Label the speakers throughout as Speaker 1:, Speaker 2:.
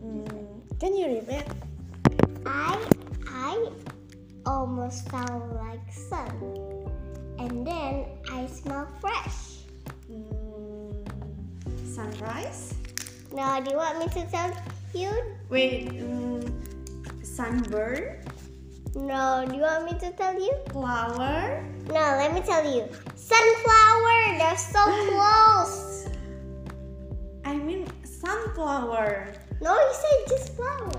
Speaker 1: Mm, Can you read it?
Speaker 2: I I almost sound like sun. And then I smell fresh.
Speaker 1: Hmm, sunrise?
Speaker 2: Now do you want me to tell you?
Speaker 1: Wait, mm, sunburn?
Speaker 2: No, do you want me to tell you?
Speaker 1: Flower?
Speaker 2: No, let me tell you. Sunflower, they're so close.
Speaker 1: I mean sunflower.
Speaker 2: No, you said just flower.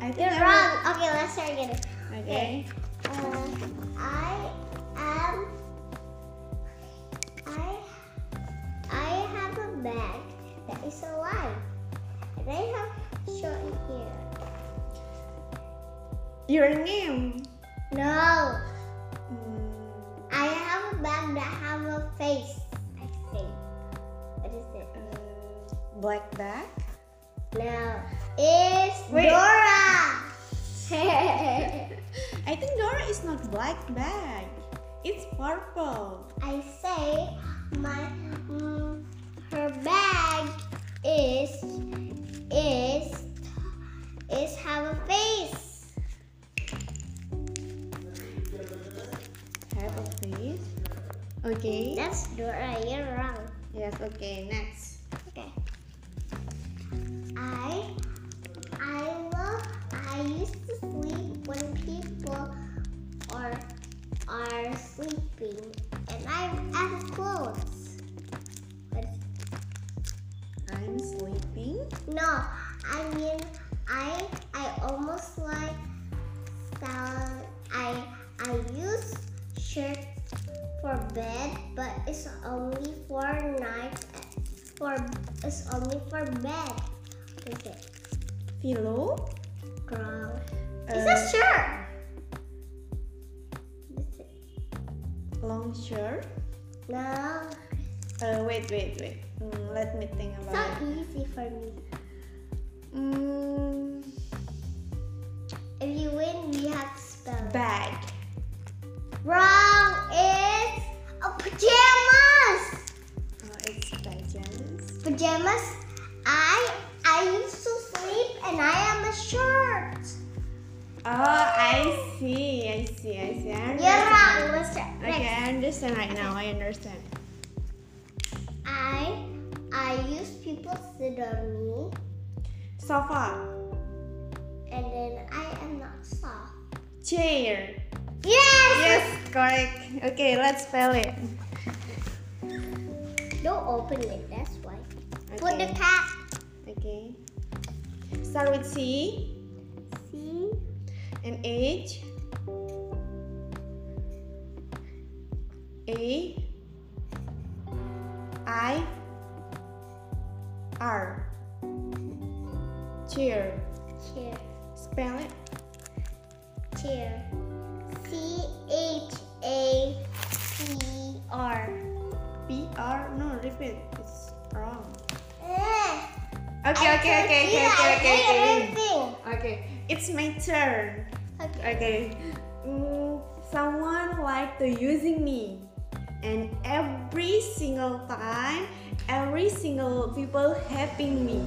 Speaker 1: I think
Speaker 2: You're
Speaker 1: I
Speaker 2: wrong. Okay, let's try again.
Speaker 1: wrote- Okay.
Speaker 2: Uh, I am. I I have a bag that is alive. And I have short hair.
Speaker 1: Your name?
Speaker 2: No,
Speaker 1: Mm,
Speaker 2: I have a bag that have a face. I think. What is it?
Speaker 1: uh, black bag?
Speaker 2: No, it's
Speaker 1: Wait.
Speaker 2: Dora.
Speaker 1: I think Dora is not black bag. It's purple.
Speaker 2: I say my mm, her bag is is is have a face.
Speaker 1: Have a face. Okay.
Speaker 2: That's Dora. You're wrong.
Speaker 1: Yes. Okay. Next.
Speaker 2: Okay. I I will I used to sleep when people are are sleeping and I have clothes. What is
Speaker 1: I'm sleeping.
Speaker 2: No, I mean I I almost like sound I I use shirt for bed, but it's only for night for it's only for bed. Is it
Speaker 1: Pillow.
Speaker 2: wrong? it's
Speaker 1: Uh,
Speaker 2: a shirt. Is it-
Speaker 1: Uh, long shirt.
Speaker 2: No,
Speaker 1: Uh, wait, wait, wait. Mm, let me think
Speaker 2: it's not
Speaker 1: about it.
Speaker 2: easy for me.
Speaker 1: Mm,
Speaker 2: If you win, we have to spell. it.
Speaker 1: bag.
Speaker 2: Wrong is a pajamas.
Speaker 1: Oh, it's pajamas.
Speaker 2: pajamas. I I used to sleep and I am a shirt.
Speaker 1: Oh, I see. I see. I see. I
Speaker 2: You're
Speaker 1: understand.
Speaker 2: wrong. Let's try.
Speaker 1: Okay,
Speaker 2: Next.
Speaker 1: I understand right now. I understand.
Speaker 2: I I use people sit on me
Speaker 1: Sofa,
Speaker 2: and then I am not soft.
Speaker 1: chair.
Speaker 2: Yes.
Speaker 1: Yes, correct. Okay, let's spell it.
Speaker 2: Don't open it. That's why. Put the
Speaker 1: Okay.
Speaker 2: cat.
Speaker 1: Okay. Start with C
Speaker 2: See.
Speaker 1: and H. A. I. R. Chair.
Speaker 2: Chair.
Speaker 1: Spell it.
Speaker 2: Chair. C H A C R.
Speaker 1: P R. No, repeat. It's wrong.
Speaker 2: Eh,
Speaker 1: Okay,
Speaker 2: I
Speaker 1: okay,
Speaker 2: told
Speaker 1: okay,
Speaker 2: you
Speaker 1: okay,
Speaker 2: I hate
Speaker 1: okay, okay, okay.
Speaker 2: everything.
Speaker 1: Okay, it's my turn.
Speaker 2: Okay.
Speaker 1: Okay. Mm, someone liked to using me, and every single time, every single people helping me.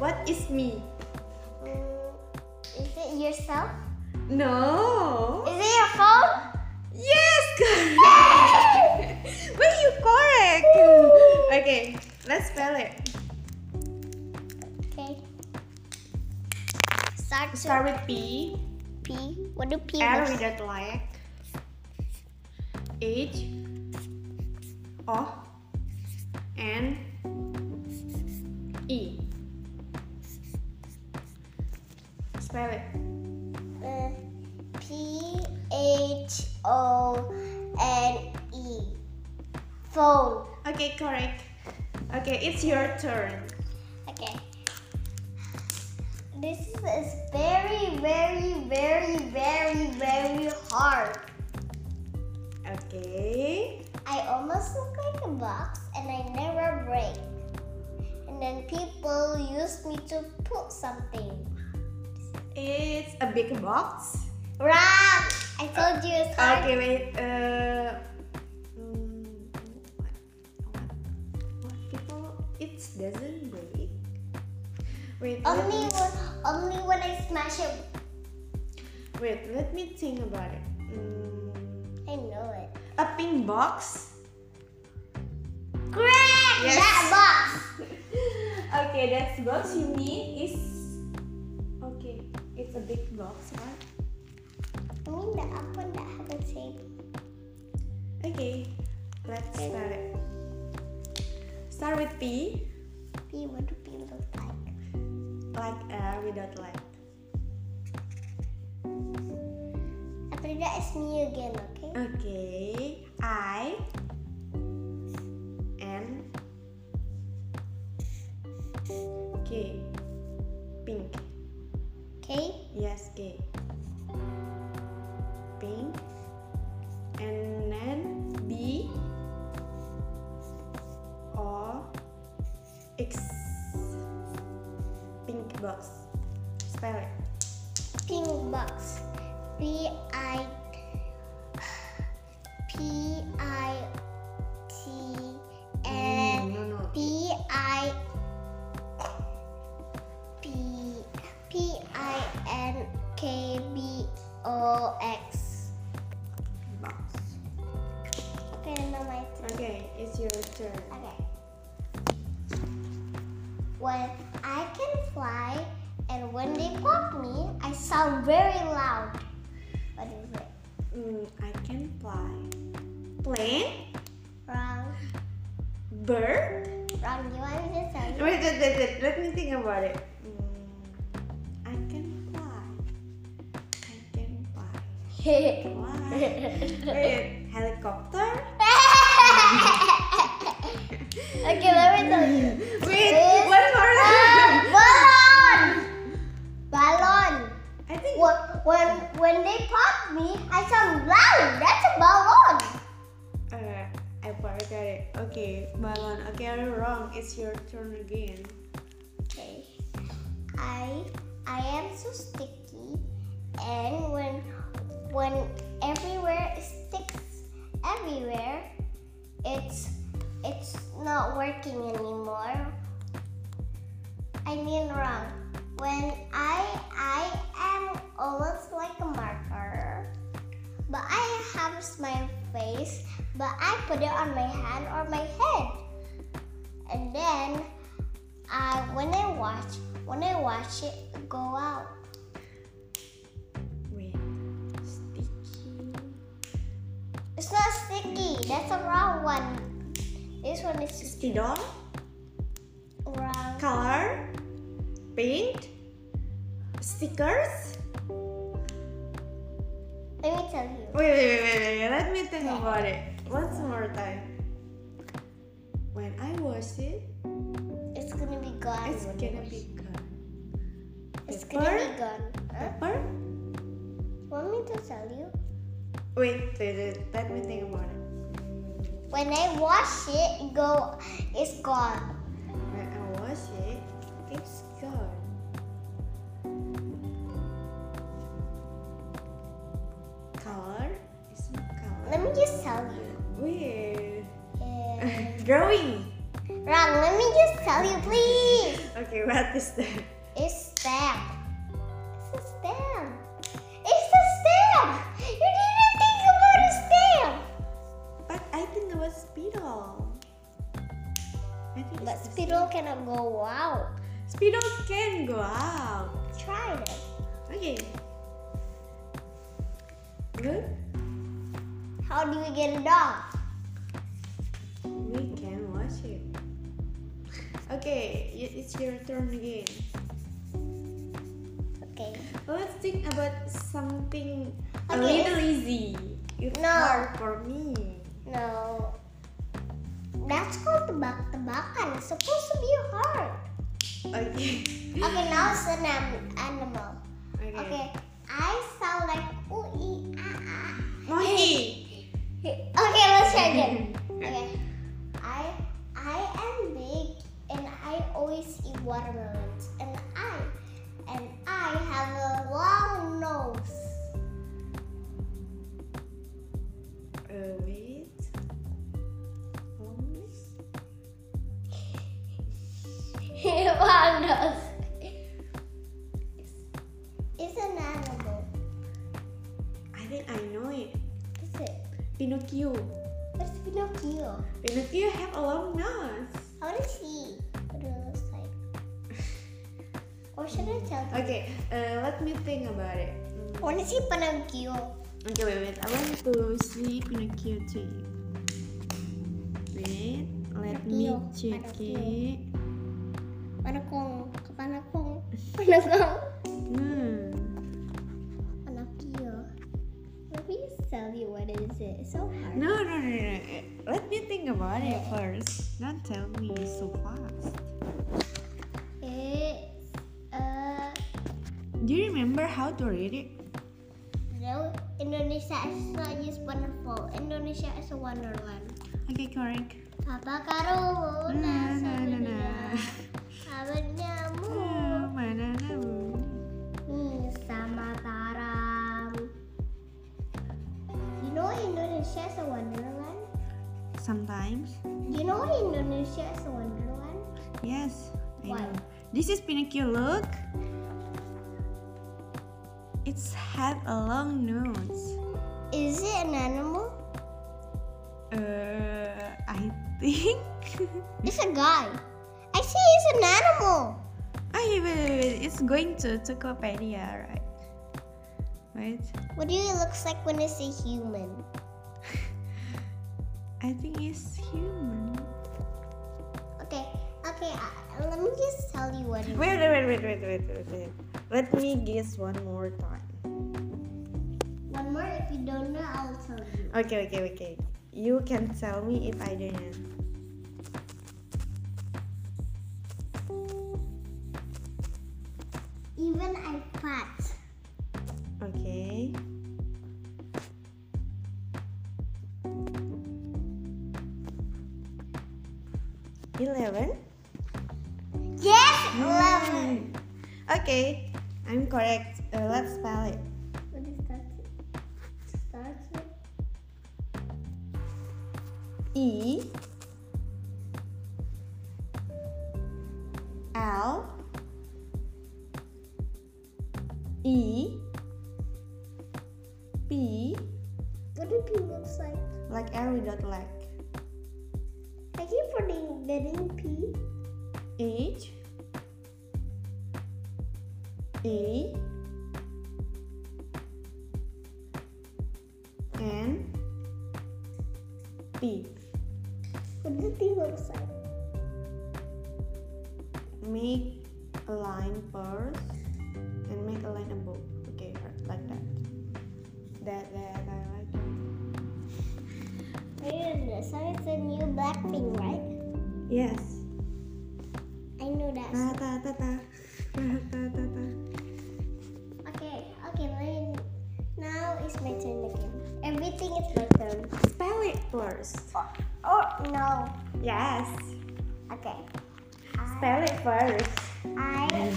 Speaker 1: What is me?
Speaker 2: Mm, Is it yourself?
Speaker 1: No.
Speaker 2: Is it your phone?
Speaker 1: Yes, correct. But you correct. Okay, let's spell it.
Speaker 2: Okay. Start to
Speaker 1: Start with P.
Speaker 2: P. What do P
Speaker 1: R
Speaker 2: looks-
Speaker 1: without like H O N E Spell it
Speaker 2: Uh, P H O N E. Phone.
Speaker 1: Okay correct Okay it's your turn
Speaker 2: Okay. This is is very, very, very, very, very hard.
Speaker 1: Okay
Speaker 2: I almost look like a box and I never break. And then people use me to put something.
Speaker 1: It's a big box
Speaker 2: Wrong! I told you it's hard.
Speaker 1: Okay wait uh, mm, what, what, what people it doesn't break Wait, let
Speaker 2: Only
Speaker 1: me-
Speaker 2: when, only when I smash it.
Speaker 1: wait, let me think about it. Mm,
Speaker 2: I know it.
Speaker 1: a pink box?
Speaker 2: Correct.
Speaker 1: Yes.
Speaker 2: That box.
Speaker 1: okay, that's box you mean is okay. It's a big box, right?
Speaker 2: I mean the up one that have a table.
Speaker 1: Okay, let's start it. Start with P,
Speaker 2: P. What do P look like?
Speaker 1: like air without light.
Speaker 2: After that, it's me again. Okay.
Speaker 1: Okay, I and K, pink.
Speaker 2: Okay.
Speaker 1: Yes, K. Pink. And then B. Or X. Pink box. Spell it.
Speaker 2: Pink box. P I P I T N
Speaker 1: no, no.
Speaker 2: P I P P I N K B O X.
Speaker 1: Box.
Speaker 2: Okay, now my turn.
Speaker 1: Okay, it's your turn.
Speaker 2: Okay. When I can fly and when they pop me, I sound very loud. What is it?
Speaker 1: Mm, I can fly. Plane.
Speaker 2: Wrong.
Speaker 1: Bird.
Speaker 2: Wrong. You want me to tell you?
Speaker 1: Wait, wait, wait, wait. Let me think about it. Mm, I can fly. I can fly. Wait, helicopter?
Speaker 2: okay, let me tell you.
Speaker 1: Wait,
Speaker 2: This-
Speaker 1: one more.
Speaker 2: Ah, balloon! Balloon.
Speaker 1: I think
Speaker 2: When, when, when they pop me, I sound loud. That's a balloon.
Speaker 1: uh, I forgot it. Okay, balloon. Okay, I'm wrong. It's your turn again.
Speaker 2: Okay. I I am so sticky and when when everywhere it sticks everywhere it's it's not working anymore. I mean wrong. When I I am almost like a marker but I have my face but I put it on my hand or my head and then I Uh, when I watch when I watch it go out.
Speaker 1: Wait, sticky.
Speaker 2: It's not sticky. That's a wrong one. This one is
Speaker 1: Sticky doll.
Speaker 2: wrong.
Speaker 1: Color. Paint. Stickers.
Speaker 2: Let me tell you.
Speaker 1: Wait, wait, wait, wait, wait. Let me think about it. Once more time. When I wash it,
Speaker 2: It's gonna be gone.
Speaker 1: it's
Speaker 2: when
Speaker 1: gonna
Speaker 2: you
Speaker 1: be gone.
Speaker 2: wash. It's gonna
Speaker 1: pepper.
Speaker 2: be gone. Huh?
Speaker 1: Pepper?
Speaker 2: Want me to tell you?
Speaker 1: Wait, wait, wait. Let me think about it.
Speaker 2: When I wash it, go. It's gone.
Speaker 1: When I wash it, it's gone. Color? It's not color.
Speaker 2: Let me just tell you.
Speaker 1: Weird.
Speaker 2: Yeah.
Speaker 1: Drawing.
Speaker 2: wrong. Let me just tell you, please.
Speaker 1: Okay, what is that?
Speaker 2: It's stamp. It's a stamp. It's a stamp. You didn't think about a stamp.
Speaker 1: But I think it was Speedo. I think
Speaker 2: But
Speaker 1: it's the
Speaker 2: spittle cannot go out.
Speaker 1: same. Speedo can go out.
Speaker 2: Try it.
Speaker 1: Okay. Good.
Speaker 2: How do you get it off?
Speaker 1: We can watch it. Okay, y- it's your turn again.
Speaker 2: Okay.
Speaker 1: Let's think about something a
Speaker 2: Okay.
Speaker 1: little easy. It's
Speaker 2: No.
Speaker 1: hard for me.
Speaker 2: No. That's called tebak-tebakan. It's supposed to be hard.
Speaker 1: Okay.
Speaker 2: Okay, now it's an am- animal.
Speaker 1: Okay.
Speaker 2: Okay. I sound like ooh ee ah ah.
Speaker 1: Monkey.
Speaker 2: Okay, let's try again. Okay. I I am big and I always eat watermelons and I and I have a long nose.
Speaker 1: Uh, wait. Long nose?
Speaker 2: long nose.
Speaker 1: Pinocchio.
Speaker 2: What's Pinocchio?
Speaker 1: Pinocchio have a long nose.
Speaker 2: How does he? What do it looks like? Or should I tell them?
Speaker 1: Okay, uh, let me think about it. Mm.
Speaker 2: I want to see Pinocchio.
Speaker 1: Okay, wait, wait. I want to see Pinocchio too. Wait, let me
Speaker 2: Pinocchio,
Speaker 1: check
Speaker 2: Pinocchio.
Speaker 1: it.
Speaker 2: Panakong, kapanakong, panakong.
Speaker 1: Hmm.
Speaker 2: Pinocchio. Let me just tell you what it is. It's so hard.
Speaker 1: No, no, no, no. no. Let me think about it first. Don't tell me so fast.
Speaker 2: It's uh
Speaker 1: Do you remember how to read it?
Speaker 2: no Indonesia is not just wonderful. Indonesia is a wonderland.
Speaker 1: Okay, correct.
Speaker 2: Apa karo
Speaker 1: Na, na, na, na.
Speaker 2: Sabenyamu
Speaker 1: Oh, banana boat.
Speaker 2: hmm, sama taram. You know Indonesia is a wonderland.
Speaker 1: Sometimes.
Speaker 2: You know Indonesia is a wonderland.
Speaker 1: Yes, I
Speaker 2: Why?
Speaker 1: know. This is Pinocchio. Look. It's had a long nose.
Speaker 2: Is it an animal?
Speaker 1: Uh, I think.
Speaker 2: It's a guy. I say it's an animal.
Speaker 1: I wait, it's going to Tokopedia, right? Right?
Speaker 2: What do you looks like when it's a human?
Speaker 1: I think it's human.
Speaker 2: Okay, okay. Uh, let me just tell you what. It,
Speaker 1: Wait, wait, wait, wait, wait, wait, wait, wait. Let me guess one more time.
Speaker 2: one more. If you don't know, I'll tell you.
Speaker 1: Okay, okay, okay. You can tell me if I didn't.
Speaker 2: Even I fat.
Speaker 1: Okay. Eleven.
Speaker 2: Yes, eleven.
Speaker 1: Okay, I'm correct. Uh, let's spell it.
Speaker 2: What is that? Starts with
Speaker 1: E L E P
Speaker 2: what do P looks like?
Speaker 1: like every dot like
Speaker 2: Thank you for the getting P.
Speaker 1: H A N P
Speaker 2: What do T looks like?
Speaker 1: make a line first and make a line above okay like that that that i like it.
Speaker 2: Wait a minute. So it's a new black thing, right?
Speaker 1: yes
Speaker 2: I know that.
Speaker 1: ta ta ta ta ta ta ta ta
Speaker 2: Okay, okay. Let me, now it's my turn again. Everything is my turn.
Speaker 1: spell it first
Speaker 2: Oh no.
Speaker 1: yes
Speaker 2: Okay.
Speaker 1: spell it first
Speaker 2: I am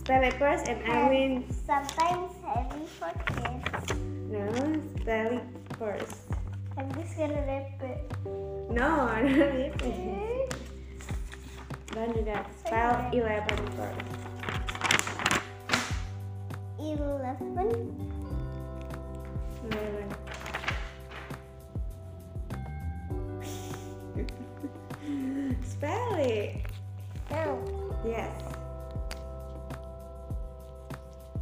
Speaker 1: spell it first and i win
Speaker 2: sometimes heavy for kids.
Speaker 1: no spell it first
Speaker 2: I'm just gonna rip it.
Speaker 1: no I don't need it. don't do that spell 11 first
Speaker 2: Eleven.
Speaker 1: 11 Mm. spell it
Speaker 2: No.
Speaker 1: Yes.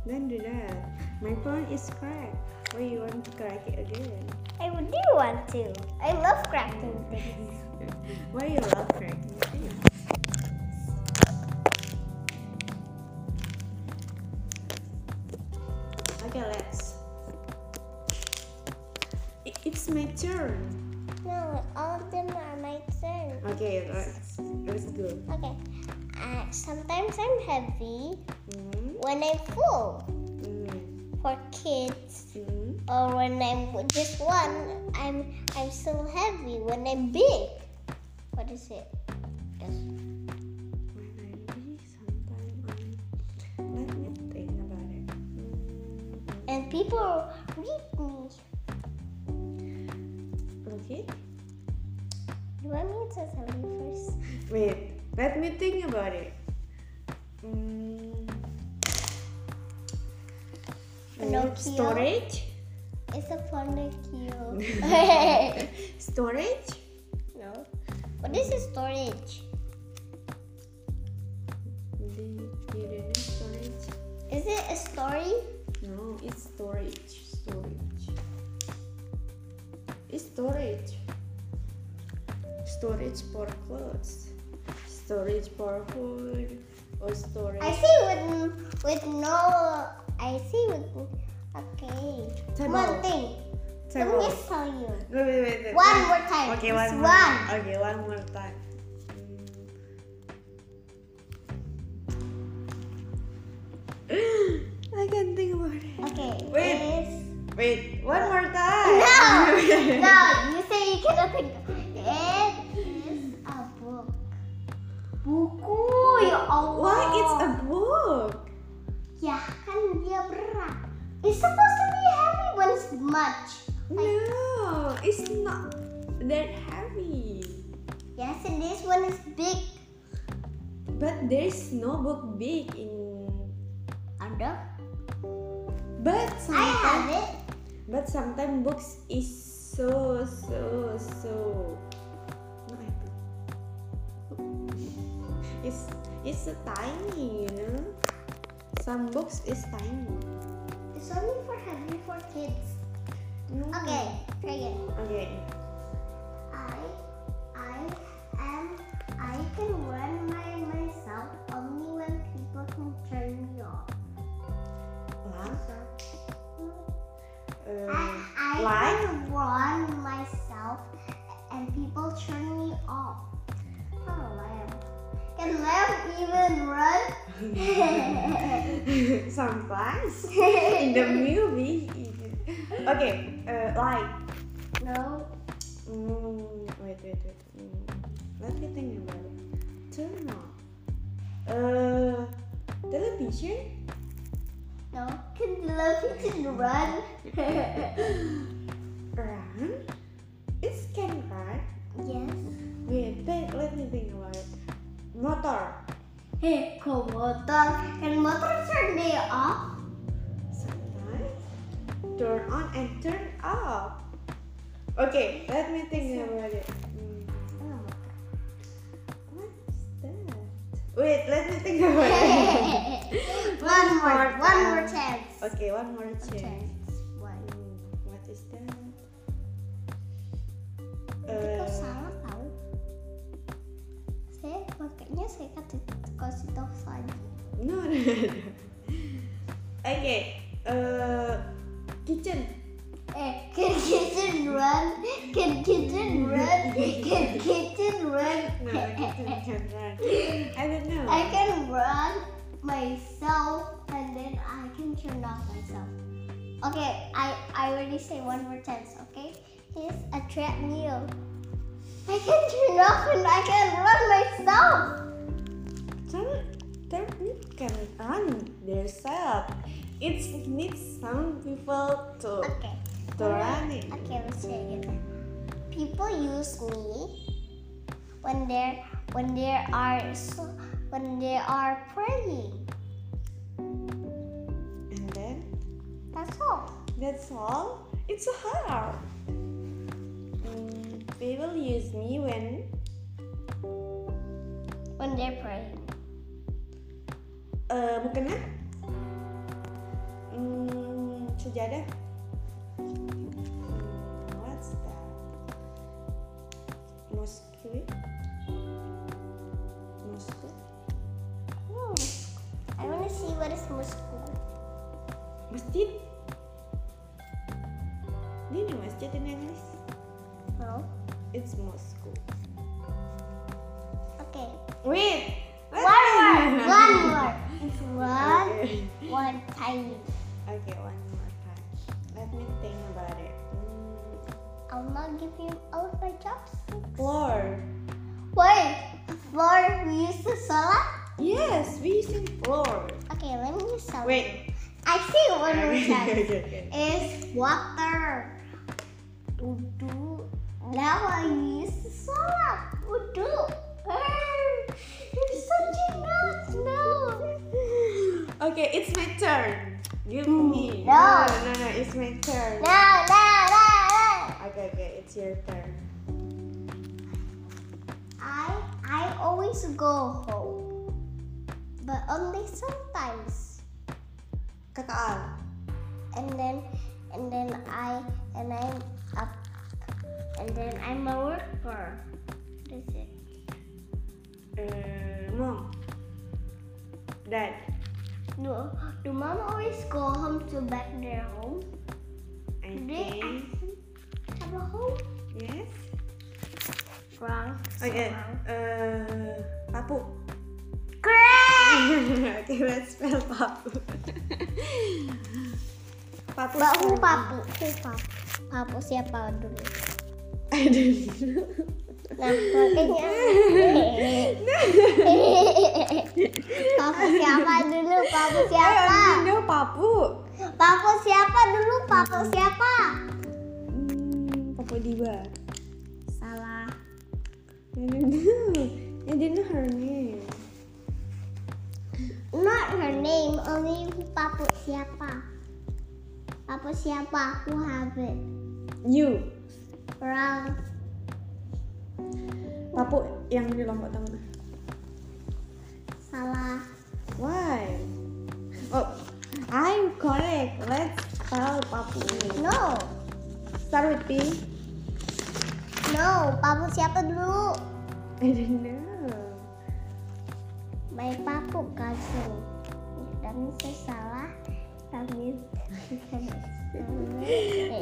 Speaker 1: Don't do that. My phone is cracked. Why you want to crack it again?
Speaker 2: I would do want to. I love crafting things.
Speaker 1: Why you love cracking things? Okay, let's. I- It's my turn.
Speaker 2: No, all of them are my turn.
Speaker 1: Okay, let's let's go.
Speaker 2: Okay. Uh, sometimes I'm heavy
Speaker 1: Mm,
Speaker 2: when I'm full
Speaker 1: mm,
Speaker 2: for kids.
Speaker 1: mm.
Speaker 2: or when I'm with just one, I'm I'm so heavy. When I'm big, what is it? Yes.
Speaker 1: When I be sometime, um, let me think about it. Mm.
Speaker 2: And people read me.
Speaker 1: Okay.
Speaker 2: Do I mean to tell you first?
Speaker 1: Wait. Let me think about it. Mm.
Speaker 2: Pinocchio.
Speaker 1: Mm. Storage.
Speaker 2: It's a funicule.
Speaker 1: Storage?
Speaker 2: no. What is a storage?
Speaker 1: They- they don't have storage.
Speaker 2: Is it a story?
Speaker 1: No, it's storage. Storage. It's storage. Storage for clothes. Storage for food. Or storage.
Speaker 2: I see with with no. I see with. Okay. One
Speaker 1: Table.
Speaker 2: thing.
Speaker 1: Table.
Speaker 2: Let me tell you.
Speaker 1: Wait, wait, wait, wait.
Speaker 2: One more time.
Speaker 1: Okay,
Speaker 2: Just
Speaker 1: one more.
Speaker 2: One.
Speaker 1: Okay, one more time. Mm. I can't think about it.
Speaker 2: Okay.
Speaker 1: Wait.
Speaker 2: Is
Speaker 1: Wait, one more time.
Speaker 2: no, no. You say you cannot think. It is a book. Buku ya Allah.
Speaker 1: Why it's a book?
Speaker 2: Ya kan dia berat. It's supposed to be heavy when it's much.
Speaker 1: No, it's not that heavy.
Speaker 2: Yes, and this one is big.
Speaker 1: But there's no book big in.
Speaker 2: Ada?
Speaker 1: But
Speaker 2: I have
Speaker 1: sometimes,
Speaker 2: it.
Speaker 1: but sometimes books is so so so. No, I think- It's it's so tiny, you know. Some books is tiny.
Speaker 2: It's only for heavy for kids.
Speaker 1: No.
Speaker 2: Okay, try again.
Speaker 1: Okay.
Speaker 2: I I am I can run by myself only when people can turn me off.
Speaker 1: Lah,
Speaker 2: I,
Speaker 1: uh,
Speaker 2: I
Speaker 1: Like?
Speaker 2: can run myself and people turn me off. What a lamb. Can lamb even run?
Speaker 1: sometimes in the movie. it- Okay. Uh, like.
Speaker 2: no.
Speaker 1: Mm, wait, wait, wait. Mm, let me think about it. Turn on. Uh, television?
Speaker 2: No. Can television run?
Speaker 1: Run? It's can run.
Speaker 2: yes.
Speaker 1: Wait, wait, let me think about it. Motor.
Speaker 2: Hey, motor. Can motor turn me off?
Speaker 1: Sometimes. Turn on and turn off. Okay, let me think about it. Mm, oh. What's that? Wait, let me think about it.
Speaker 2: one more. One more
Speaker 1: time.
Speaker 2: chance.
Speaker 1: Okay, one more chance.
Speaker 2: One.
Speaker 1: Hmm, What is that?
Speaker 2: Kau
Speaker 1: Uh,
Speaker 2: salah tahu. Saya makanya saya kasih kasih tahu saja.
Speaker 1: no, no, no. Okay. Uh, kitchen.
Speaker 2: Eh, can kitchen run? Can kitchen run? Can kitchen run?
Speaker 1: No, kitchen can run. I don't know.
Speaker 2: I can run myself and then I can turn off myself. Okay, I, I already say one more chance, okay? Here's a treadmill. I can turn off and I can run myself.
Speaker 1: Turn, turn it can run themselves. It needs some people to
Speaker 2: Okay.
Speaker 1: to run it.
Speaker 2: Okay, let's say it again. People use me when they're when they are so, when they are praying.
Speaker 1: And then
Speaker 2: That's all.
Speaker 1: that's all. It's so hard. Mm, people use me when
Speaker 2: When they're praying.
Speaker 1: Eh, mukena hmm, sejadah Hmm, what's that mosque mosque
Speaker 2: Hmm. I wanna see what is musku.
Speaker 1: masjid ini masjid in English
Speaker 2: No.
Speaker 1: it's mosque
Speaker 2: Okay.
Speaker 1: wait
Speaker 2: One more. One more. It's one.
Speaker 1: Okay.
Speaker 2: One tiny.
Speaker 1: okay one more time let me think about it Hmm,
Speaker 2: I'll not give you all of my chopsticks.
Speaker 1: floor
Speaker 2: Wait. Floor. We use the salad.
Speaker 1: yes we using floor
Speaker 2: Okay. Let me use salad.
Speaker 1: wait
Speaker 2: I see one more chance.
Speaker 1: Okay, okay.
Speaker 2: is water. Wudu. Now I use the salah. Wudu. Arr, You're such a nut. No.
Speaker 1: Okay, it's my turn. You me.
Speaker 2: Hmm. No.
Speaker 1: no, no, no, it's my turn.
Speaker 2: No, no, no, no.
Speaker 1: Okay, okay, it's your turn.
Speaker 2: I I always go home, but only sometimes.
Speaker 1: Kata Al.
Speaker 2: and then and then I and I'm up and then I'm a worker. What is it?
Speaker 1: Uh, Mom. Dad.
Speaker 2: No, do mom always go home to back their home?
Speaker 1: I
Speaker 2: Do they
Speaker 1: think.
Speaker 2: actually have a home?
Speaker 1: Yes.
Speaker 2: Wrong. so
Speaker 1: Okay.
Speaker 2: wrong.
Speaker 1: Uh, papu.
Speaker 2: Correct.
Speaker 1: okay, let's spell papu. papu.
Speaker 2: But who
Speaker 1: spell.
Speaker 2: papu? Who papu? Papu siapa dulu?
Speaker 1: I don't know.
Speaker 2: Nah, makanya. papu siapa dulu? Papu
Speaker 1: I
Speaker 2: siapa?
Speaker 1: only know papu.
Speaker 2: Papu siapa dulu? Papu siapa?
Speaker 1: Hmm, papu diba.
Speaker 2: Salah.
Speaker 1: I don't know. I didn't know her name.
Speaker 2: Not her name, only Papu siapa. Papu siapa? Who have it?
Speaker 1: You.
Speaker 2: Wrong.
Speaker 1: Papu yang di lombok tengah.
Speaker 2: Salah.
Speaker 1: Why? Oh, I'm correct. Let's spell papu.
Speaker 2: No.
Speaker 1: Start with P.
Speaker 2: No. Papu siapa dulu?
Speaker 1: I don't know.
Speaker 2: My Papu cousin. Kami salah. Kami.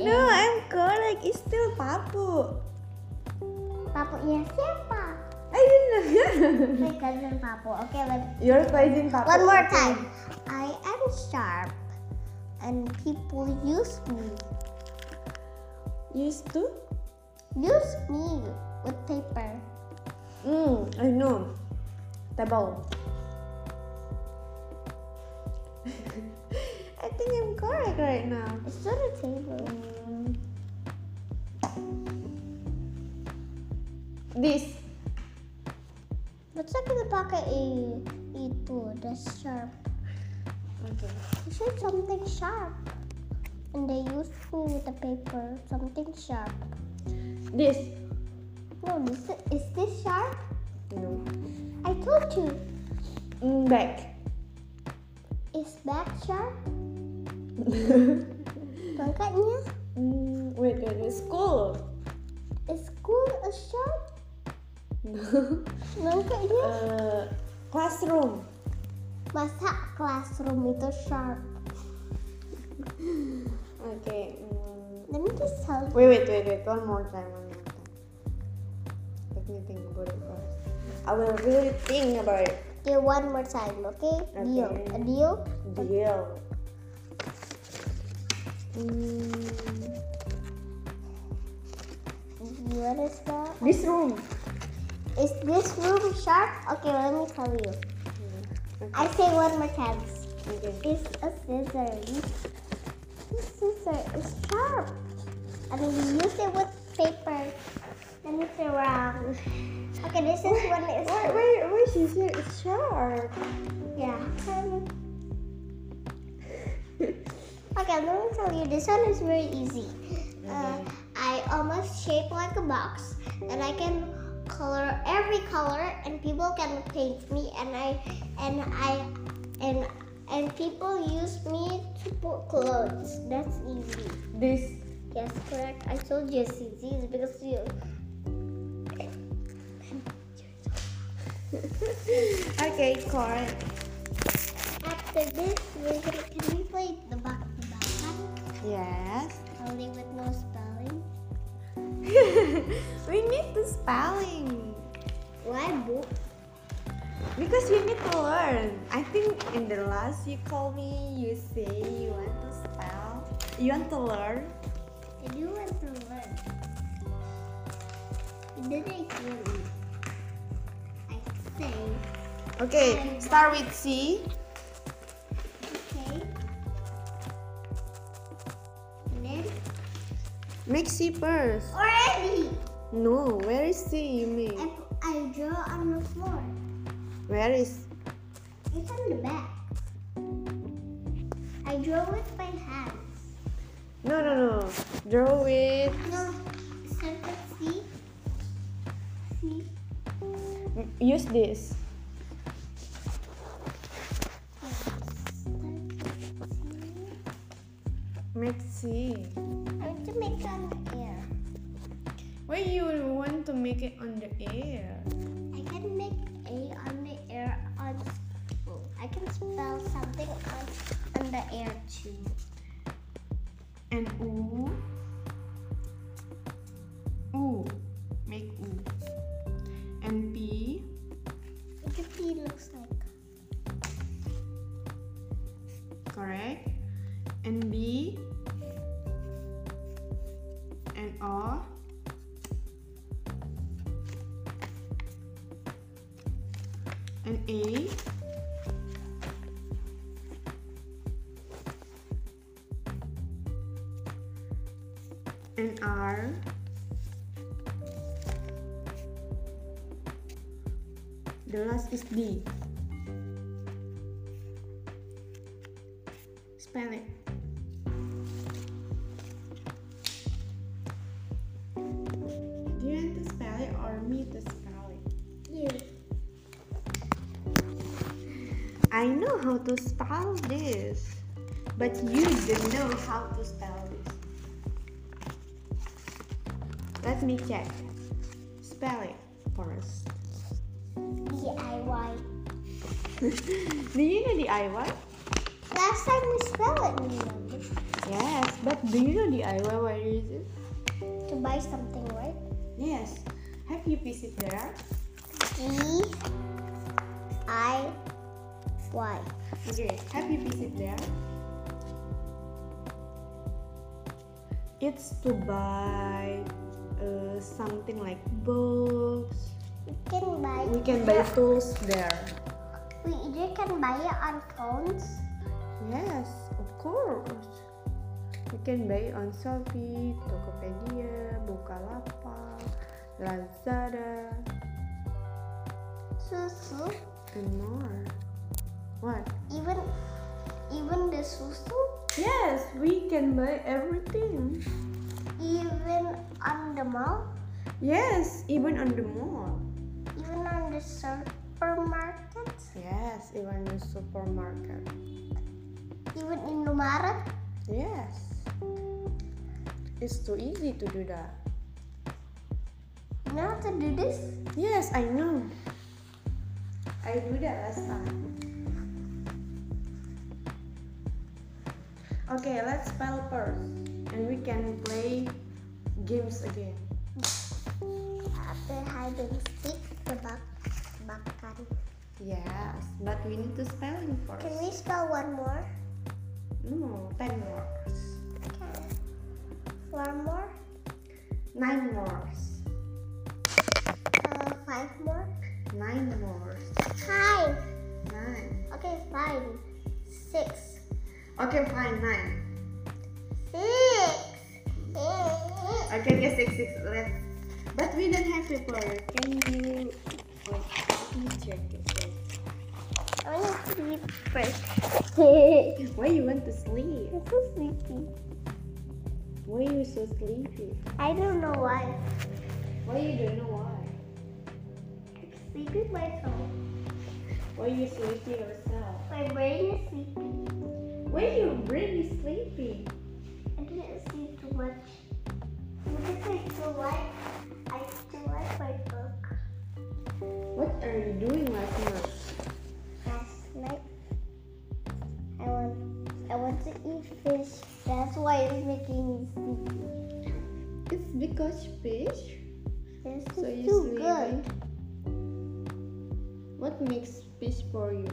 Speaker 1: No, I'm correct. It's still papu.
Speaker 2: Papunya siapa?
Speaker 1: I didn't know.
Speaker 2: My cousin Papu. Okay, let's
Speaker 1: Your question, papu.
Speaker 2: One Mhm. more time. I am sharp and people use me.
Speaker 1: Used to?
Speaker 2: Use me with paper.
Speaker 1: Mm, I know. Table. I think I'm correct right now.
Speaker 2: It's not a table.
Speaker 1: Mm. This.
Speaker 2: What's up with the pocket E. i- itu? That's sharp.
Speaker 1: Okay.
Speaker 2: You should something sharp. And they use me with the paper. Something sharp.
Speaker 1: This.
Speaker 2: No, this is, is this sharp?
Speaker 1: No.
Speaker 2: I told you.
Speaker 1: Mm, back.
Speaker 2: Is back sharp?
Speaker 1: mm,
Speaker 2: Makanya,
Speaker 1: wait, wait, wait. School.
Speaker 2: is school a sharp?
Speaker 1: No.
Speaker 2: Makanya,
Speaker 1: uh, classroom.
Speaker 2: masa classroom itu sharp?
Speaker 1: Okay. Mm.
Speaker 2: Let me just tell you.
Speaker 1: Wait, wait, wait, wait. One more time. One more time. Let me think about it first. I will really think about it.
Speaker 2: Okay, one more time, okay?
Speaker 1: Okay.
Speaker 2: Deal. A deal?
Speaker 1: Deal. Mm,
Speaker 2: What is that?
Speaker 1: this room.
Speaker 2: Is this room sharp? Okay, let me tell you.
Speaker 1: Hmm, Okay.
Speaker 2: I say one more time.
Speaker 1: Okay.
Speaker 2: It's a scissors. This scissor is sharp. And we use it with paper. Let me say wrong. Okay, this is one is
Speaker 1: Why, why, why she said it's sharp?
Speaker 2: yeah. Okay, let me tell you. This one is very easy. Uh, I almost shape like a box, and I can color every color, and people can paint me, and I, and I, and and people use me to put clothes. That's easy.
Speaker 1: This.
Speaker 2: Yes, correct. I told you it's easy it's because you.
Speaker 1: Okay, correct.
Speaker 2: After this, we're gonna can we play the box the box
Speaker 1: Yes.
Speaker 2: only with no spelling?
Speaker 1: we need the spelling
Speaker 2: Why book?
Speaker 1: because we need to learn. I think in the last you call me, you say you want to spell, you want to learn.
Speaker 2: I do want to learn. It didn't kill me. I say,
Speaker 1: Okay, start with C.
Speaker 2: okay. And then
Speaker 1: Make C first.
Speaker 2: already,
Speaker 1: No, where is C? You
Speaker 2: I,
Speaker 1: mean
Speaker 2: pu- I draw on the floor.
Speaker 1: where is?
Speaker 2: It's on the back. I I draw with my hands.
Speaker 1: No, no, no. Draw with
Speaker 2: No, something see. See.
Speaker 1: use this. Let's see.
Speaker 2: I want to make an ear.
Speaker 1: Why you want to make it on the air?
Speaker 2: I can make A on the air on school. I can spell something on, on the air too.
Speaker 1: And ooh. Ooh. Make ooh. And P.
Speaker 2: The P looks like
Speaker 1: Correct. And B. And O. And A. And R. The last is D. Spell it. Do you want to spell it or me to spell it?
Speaker 2: you.
Speaker 1: I know how to spell this, but you don't know how to spell this. Let me check. Spell it first.
Speaker 2: DIY.
Speaker 1: Do you know DIY?
Speaker 2: Last time we spell it, remember?
Speaker 1: Yes, but do you know DIY? Where is it?
Speaker 2: To buy something, right?
Speaker 1: Yes. Have you visited there?
Speaker 2: D I Y.
Speaker 1: Okay, happy visit there. It's to buy uh, something like books.
Speaker 2: You can buy.
Speaker 1: We can buy tools there.
Speaker 2: We either can buy it on phones.
Speaker 1: Yes, of course. You can buy on Shopee, Tokopedia, Bukalapak, Lazada,
Speaker 2: Susu.
Speaker 1: and more. What?
Speaker 2: Even even the susu.
Speaker 1: Yes, we can buy everything.
Speaker 2: Even on the mall.
Speaker 1: Yes, even on the mall.
Speaker 2: Even on the supermarket.
Speaker 1: Yes, even the supermarket.
Speaker 2: Even in the market.
Speaker 1: Yes. It's too easy to do that.
Speaker 2: You know how to do this?
Speaker 1: Yes, I know. I do that last time. Okay, let's spell first. And we can play games again.
Speaker 2: After hiding stick, the bak bakan.
Speaker 1: Yes, but we need to spell it
Speaker 2: Can
Speaker 1: first.
Speaker 2: we spell one more?
Speaker 1: No, 10 words.
Speaker 2: Okay. One more?
Speaker 1: 9 words.
Speaker 2: Uh, five more?
Speaker 1: 9 words.
Speaker 2: Five.
Speaker 1: 9.
Speaker 2: Okay, five. Six.
Speaker 1: Okay, fine, 9.
Speaker 2: Six.
Speaker 1: Okay, okay, 6, 6. Let's. But we don't have paper. Can you. Wait, let me check it first.
Speaker 2: I want to sleep first. I'm
Speaker 1: Why you want to sleep?
Speaker 2: so sleepy.
Speaker 1: Why you so sleepy?
Speaker 2: I don't know why.
Speaker 1: Why you don't know why?
Speaker 2: I'm sleepy myself.
Speaker 1: Why you sleepy yourself?
Speaker 2: My brain is sleepy.
Speaker 1: Why your brain is sleepy?
Speaker 2: I didn't sleep too much. Because I still like, I still like my book.
Speaker 1: What are you doing last night?
Speaker 2: Last night, I want, I want to eat fish. That's why it's making me sleepy.
Speaker 1: It's because fish.
Speaker 2: This
Speaker 1: So
Speaker 2: is
Speaker 1: you
Speaker 2: too
Speaker 1: sleeping.
Speaker 2: good.
Speaker 1: What makes fish for you?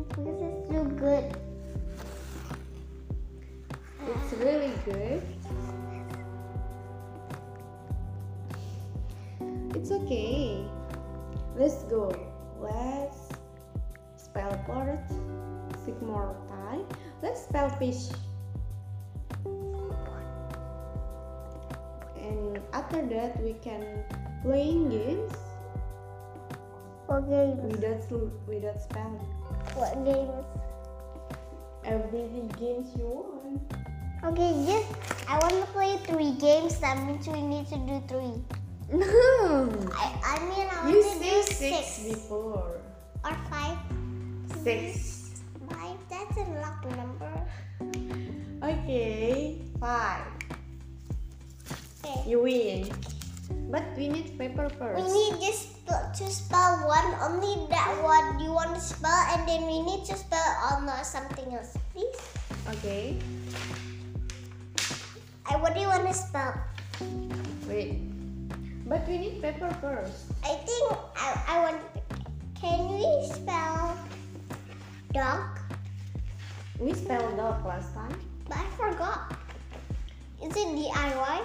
Speaker 2: It's because it's too good.
Speaker 1: It's really good. It's okay. Let's go. Let's spell port. Take more time. Let's spell fish. And after that, we can playing games
Speaker 2: What games?
Speaker 1: without sl- without spelling.
Speaker 2: What games?
Speaker 1: every games you want.
Speaker 2: Okay, yes. I want to play three games. That means we need to do three.
Speaker 1: No,
Speaker 2: I, I mean, I want
Speaker 1: you
Speaker 2: to
Speaker 1: say
Speaker 2: do
Speaker 1: six,
Speaker 2: six
Speaker 1: before.
Speaker 2: or five.
Speaker 1: Six.
Speaker 2: Five. That's a lucky number.
Speaker 1: Okay, five.
Speaker 2: Okay.
Speaker 1: You win. But we need paper
Speaker 2: We
Speaker 1: first.
Speaker 2: need just sp- to spell one, only that one you want to spell, and then we need to spell on uh, something else, please.
Speaker 1: Okay,
Speaker 2: I what do you want to spell?
Speaker 1: wait. But we need paper first.
Speaker 2: I think I, I want. Can we spell dog?
Speaker 1: We spelled dog last time.
Speaker 2: But I forgot. Is it DIY?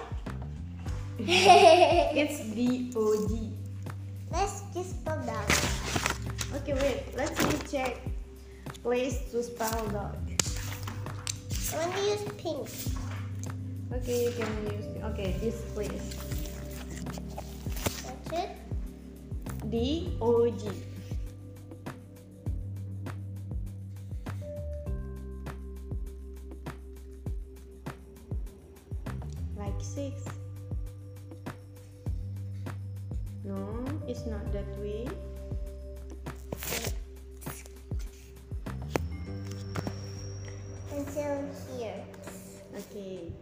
Speaker 1: It's D O D.
Speaker 2: Let's just spell dog.
Speaker 1: Okay, wait. Let's recheck. Place to spell dog.
Speaker 2: I want to use pink.
Speaker 1: Okay, you can use. Okay, this place.
Speaker 2: That's it.
Speaker 1: D O G. Like six. No, it's not that way.
Speaker 2: Until here.
Speaker 1: Okay.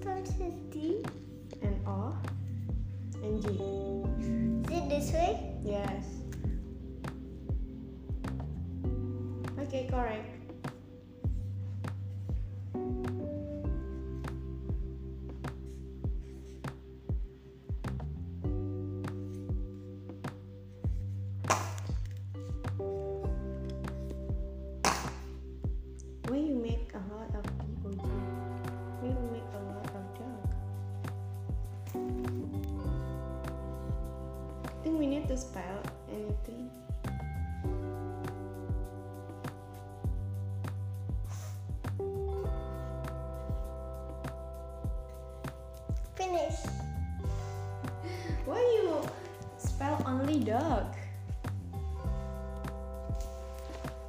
Speaker 2: Start with D.
Speaker 1: And O. And G.
Speaker 2: Is it this way?
Speaker 1: Yes. Okay, correct. Why you make a lot of people do? Why you make a lot of dog? I think we need to spell anything.
Speaker 2: Finish.
Speaker 1: Why you spell only dog? I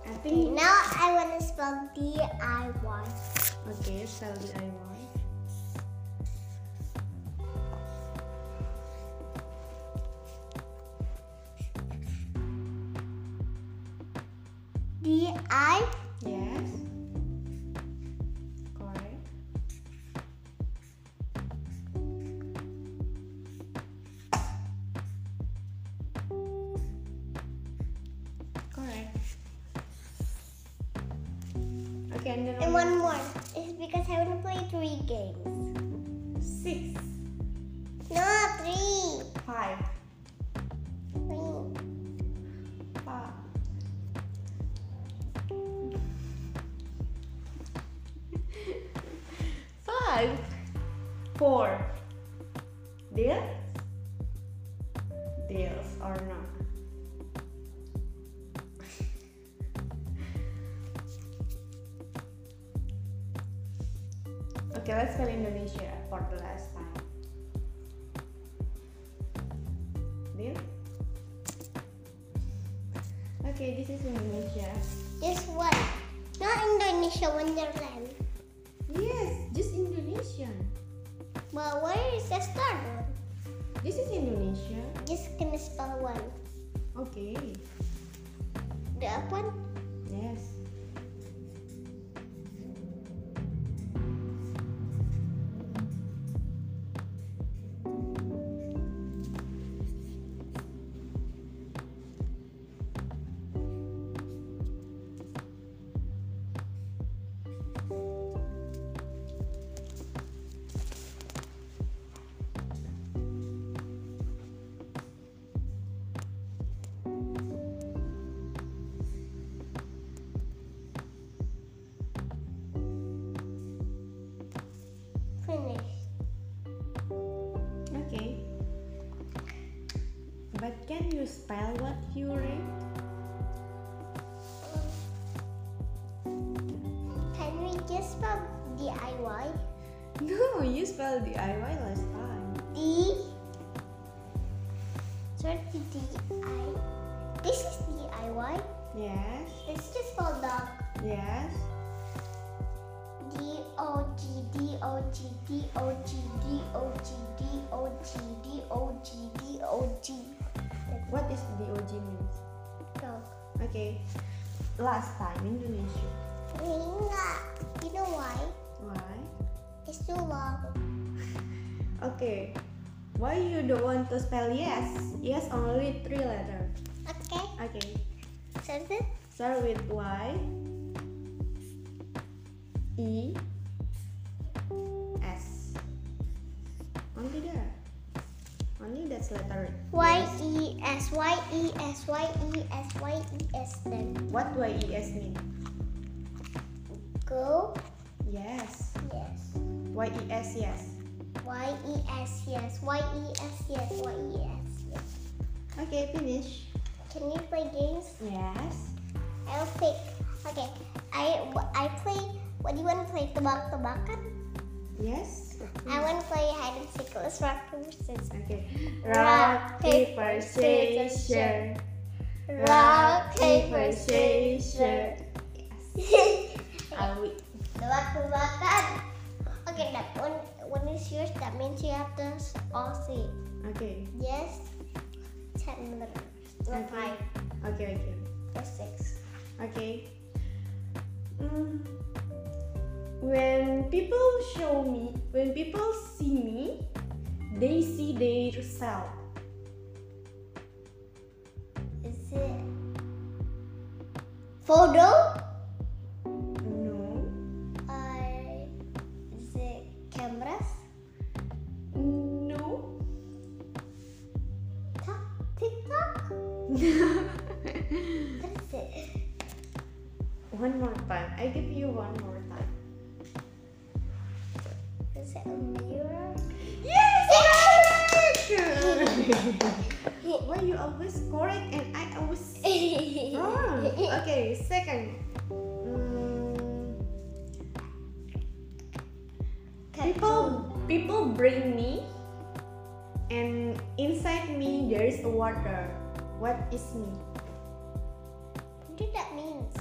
Speaker 2: Okay,
Speaker 1: think
Speaker 2: now I want to spell DIY.
Speaker 1: okay, spell DIY.
Speaker 2: DI.
Speaker 1: Yes. Correct. Correct. Okay, and then
Speaker 2: And
Speaker 1: only
Speaker 2: one more. It's because I want to play three games.
Speaker 1: six,
Speaker 2: No, three.
Speaker 1: five,
Speaker 2: Three.
Speaker 1: five. Five, four. Deal? Deals or not? okay, let's spell Indonesia for the last time. Deal? Okay, this is Indonesia.
Speaker 2: Just one. Not Indonesia Wonderland.
Speaker 1: Yes, just Indonesian.
Speaker 2: But where is the start one?
Speaker 1: This is Indonesia.
Speaker 2: Just gonna spell one.
Speaker 1: Okay.
Speaker 2: The up one?
Speaker 1: Yes.
Speaker 2: Finish.
Speaker 1: Okay. But can you spell what you read?
Speaker 2: Can we just spell DIY?
Speaker 1: No, you spelled DIY last time.
Speaker 2: D. Search DI. This is DIY.
Speaker 1: Yes,
Speaker 2: It's just for dog.
Speaker 1: yes.
Speaker 2: D O G D O G D O G D O G D O G D O G D O G.
Speaker 1: What is DOG means?
Speaker 2: Dog.
Speaker 1: Okay. Last time Indonesia.
Speaker 2: Enggak. You know why?
Speaker 1: Why?
Speaker 2: It's too long.
Speaker 1: Okay. Why you don't want to spell yes? Yes only three letter.
Speaker 2: Okay.
Speaker 1: Okay.
Speaker 2: Something.
Speaker 1: Start with Y E S. Only that. Only that's letter.
Speaker 2: Y E S Y E S Y E S Y E S then
Speaker 1: What Y E S mean?
Speaker 2: go
Speaker 1: Yes.
Speaker 2: yes
Speaker 1: Y E S yes.
Speaker 2: Y E S yes Y E S yes Y E S yes.
Speaker 1: Okay, finish.
Speaker 2: Can you play games?
Speaker 1: Yes.
Speaker 2: I'll pick. Okay, I I play. What do you want to play? Tebak tebakan.
Speaker 1: Yes.
Speaker 2: I want to play hide and seek. Let's rock paper scissors.
Speaker 1: Okay.
Speaker 2: Rock,
Speaker 1: Rock,
Speaker 2: paper,
Speaker 1: paper,
Speaker 2: scissors,
Speaker 1: scissors.
Speaker 2: Rock paper scissors.
Speaker 1: scissors. I will.
Speaker 2: tebak tebakan. Okay, that one one is yours. That means you have to s- all see.
Speaker 1: Okay.
Speaker 2: Yes, ten minutes. Or
Speaker 1: Okay.
Speaker 2: five
Speaker 1: Okay. Okay.
Speaker 2: or six.
Speaker 1: Okay. Mm. When people show me, when people see me, they see their self.
Speaker 2: Is it photo?
Speaker 1: No.
Speaker 2: Uh, is it cameras?
Speaker 1: No.
Speaker 2: Tuck, Tick tock? What is it?
Speaker 1: one more time. I give you one more time.
Speaker 2: Is it a mirror?
Speaker 1: Yes! Why you always correct and I always wrong? Ah, Okay, second. Mm, people, people bring me, and inside me there is a water. What is me?
Speaker 2: What did that means?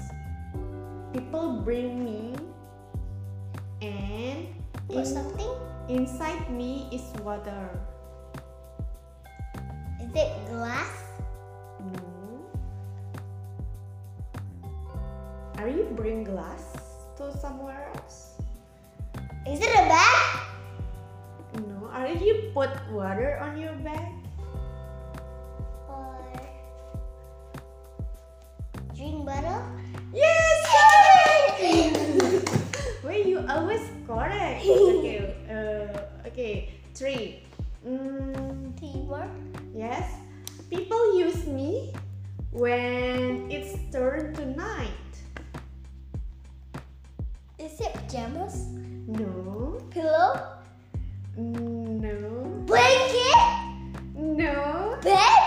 Speaker 1: People bring me, and
Speaker 2: Or
Speaker 1: in-
Speaker 2: something?
Speaker 1: inside me is water.
Speaker 2: Is it glass?
Speaker 1: No. Are you bring glass to somewhere else?
Speaker 2: Is it a bag?
Speaker 1: No. Are you put water on your bag?
Speaker 2: Or drink bottle?
Speaker 1: Yes! Why you always correct? Okay. Uh, okay. Three. Mm,
Speaker 2: Teamwork?
Speaker 1: yes. People use me when it's turn to night.
Speaker 2: Is it pajamas?
Speaker 1: No. Mm,
Speaker 2: Pillow?
Speaker 1: No.
Speaker 2: Blanket?
Speaker 1: No.
Speaker 2: Bed?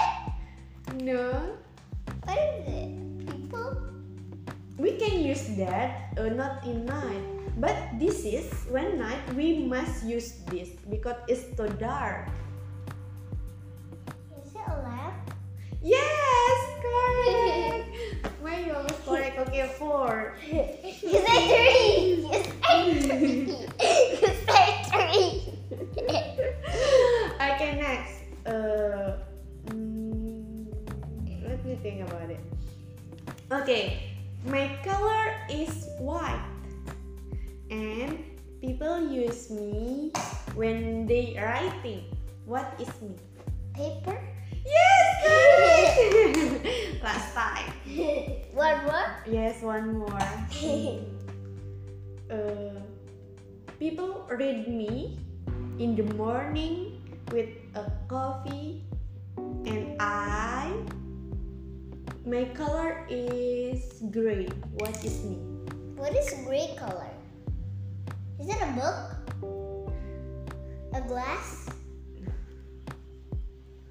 Speaker 1: No.
Speaker 2: What is it? People?
Speaker 1: we can use that uh, not in night but this is when night we must use this because it's too dark
Speaker 2: Is it a lamp?
Speaker 1: yes correct why you always correct okay four
Speaker 2: Is it tree? Is it tree? Is it tree?
Speaker 1: okay next uh, mm, let me think about it okay my color is white and people use me when they writing what is me
Speaker 2: Paper?
Speaker 1: Yes, correct. Last time.
Speaker 2: One more?
Speaker 1: Yes, one more. Uh, people read me in the morning with a coffee, and I. My color is gray. What is me?
Speaker 2: What is gray color? Is it a book? A glass?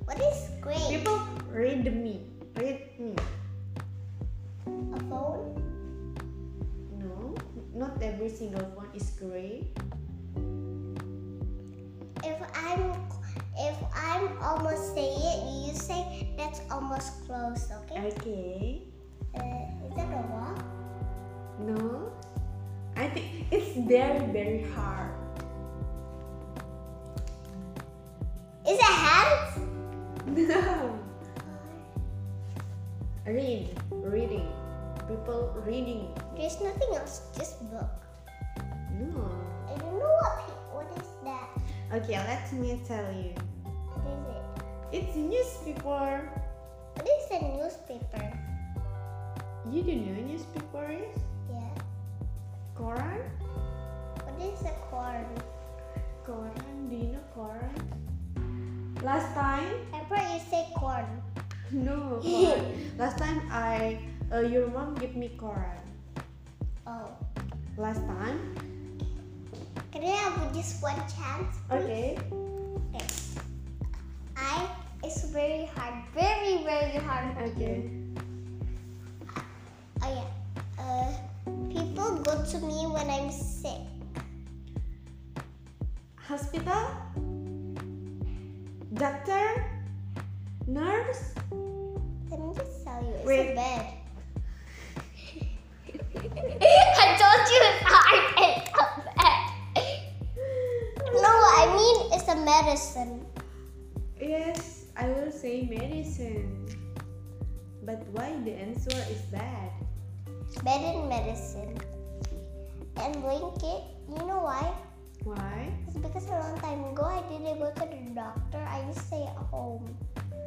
Speaker 2: What is gray?
Speaker 1: People read me. Read me.
Speaker 2: A phone?
Speaker 1: No, not every single one is gray.
Speaker 2: I'm almost say it. You say that's almost close. Okay.
Speaker 1: Okay.
Speaker 2: Uh, is that a wall?
Speaker 1: No. I think it's very very hard.
Speaker 2: Is it hands?
Speaker 1: No. Read. Reading. People reading.
Speaker 2: There's nothing else. Just book.
Speaker 1: No.
Speaker 2: I don't know what. pe- What is that?
Speaker 1: Okay, let me tell you.
Speaker 2: What is it?
Speaker 1: It's newspaper.
Speaker 2: What is a newspaper?
Speaker 1: You don't know newspaper is?
Speaker 2: Yeah.
Speaker 1: Koran?
Speaker 2: What is a corn?
Speaker 1: Koran, do you know Koran? Last time?
Speaker 2: Emperor, you say corn.
Speaker 1: No, Koran. Last time I, uh, your mom gave me Koran.
Speaker 2: Oh.
Speaker 1: Last time?
Speaker 2: Can I have just one chance? please?
Speaker 1: Okay.
Speaker 2: Okay. I. It's very hard. Very very hard.
Speaker 1: Okay.
Speaker 2: Oh yeah. Uh, people go to me when I'm sick.
Speaker 1: Hospital? Doctor? Nurse?
Speaker 2: Let me just tell you, it's
Speaker 1: Wait.
Speaker 2: a bed. I told you it's hard. It's a bed. No, I mean it's a medicine.
Speaker 1: Yes, I will say medicine. But why the answer is bad?
Speaker 2: Bed and medicine. And blanket. You know why?
Speaker 1: Why?
Speaker 2: It's because a long time ago I didn't go to the doctor. I just stay at home.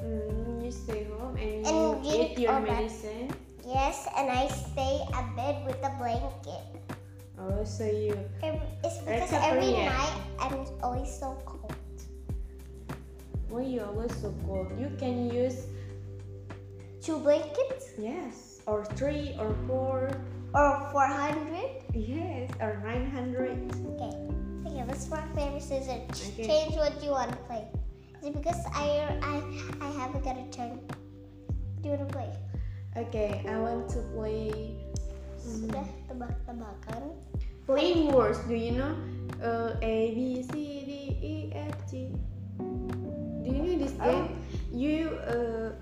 Speaker 1: Mm, you stay home and you
Speaker 2: And
Speaker 1: eat
Speaker 2: drink
Speaker 1: your
Speaker 2: all that.
Speaker 1: medicine.
Speaker 2: Yes, and I stay at bed with a blanket.
Speaker 1: Oh, so you
Speaker 2: Ev- It's because
Speaker 1: Except for
Speaker 2: every
Speaker 1: you.
Speaker 2: night I'm always so cold.
Speaker 1: why you always so cold? You can use
Speaker 2: Two blankets?
Speaker 1: yes or three or four
Speaker 2: or 400.
Speaker 1: yes or nine hundred.
Speaker 2: Okay. Okay, let's rock paper scissors.
Speaker 1: Okay.
Speaker 2: Change what you want to play. Is it because I I I haven't got a turn? Do you want to play?
Speaker 1: Okay, I want to play
Speaker 2: Sudah tebak-tebakan.
Speaker 1: playing words. Do you know uh, A B C D E F G? Do you know this
Speaker 2: Oh.
Speaker 1: game? You uh,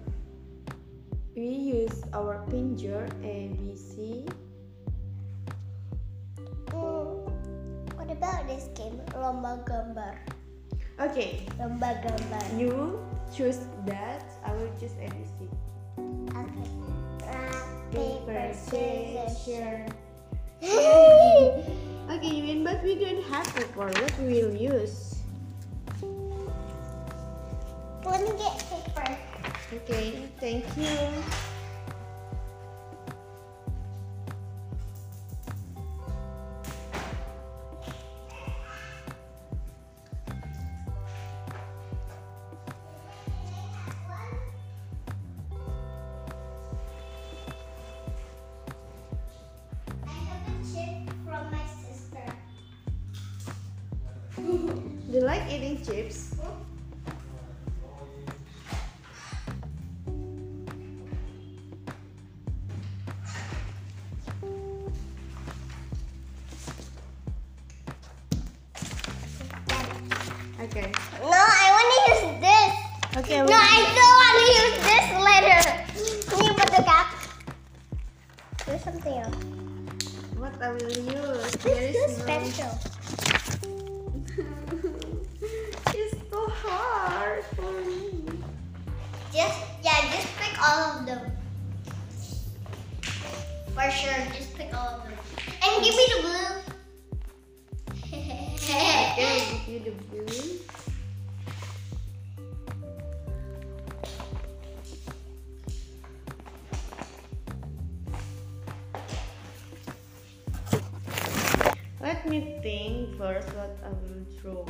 Speaker 1: we use our finger A B C.
Speaker 2: Mm, what about this game? Lomba gambar.
Speaker 1: Okay,
Speaker 2: Lomba gambar.
Speaker 1: you choose that. I will choose A B C.
Speaker 2: Okay. Rock paper
Speaker 1: Paper,
Speaker 2: scissors.
Speaker 1: scissors. Okay, you mean but we don't have paper. What we will use?
Speaker 2: Let me get paper.
Speaker 1: Okay, thank you.
Speaker 2: I have a chip from my sister.
Speaker 1: Do you like eating chips? Okay.
Speaker 2: No, I want to use this.
Speaker 1: Okay.
Speaker 2: No, I still want to use this later. Can you put the cap? There's something else.
Speaker 1: What I will use? There
Speaker 2: This is
Speaker 1: is no.
Speaker 2: special.
Speaker 1: it's so hard for me.
Speaker 2: Just yeah, just pick all of them. For sure, just pick all of them. And give me the blue.
Speaker 1: Okay, give you the blue. Let me think first what I will draw.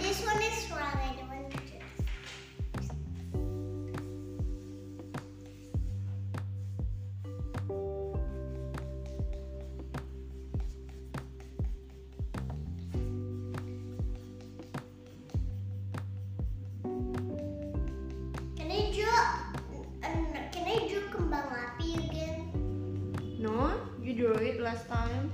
Speaker 2: this one is wrong. I don't want to.
Speaker 3: last time?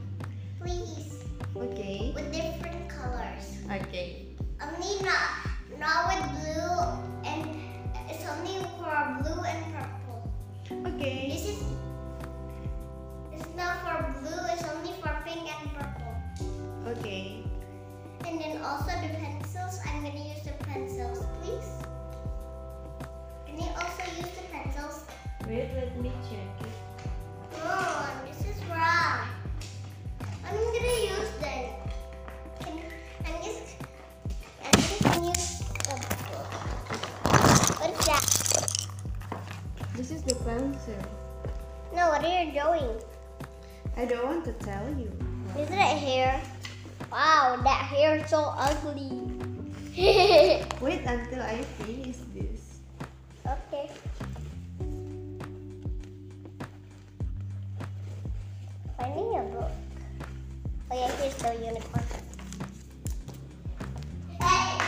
Speaker 2: Please,
Speaker 3: Okay.
Speaker 2: with different colors.
Speaker 3: Okay.
Speaker 2: Only not not with blue and it's only for blue and purple.
Speaker 1: Okay.
Speaker 2: This is it's not for blue. It's only for pink and purple.
Speaker 1: Okay.
Speaker 2: And then also the pencils. I'm gonna use the pencils, please. Can you also use the pencils?
Speaker 3: Wait, let me check. it.
Speaker 2: Oh, this is wrong. I'm gonna use them. Can, I'm just, I'm just gonna use the book. What is that?
Speaker 1: This is the pencil.
Speaker 2: No, what are you doing?
Speaker 1: I don't want to tell you.
Speaker 2: Is it hair? Wow, that hair is so ugly. okay.
Speaker 1: Wait until I finish this.
Speaker 2: Finding a book. Oh yeah, here's the unicorn. Hey!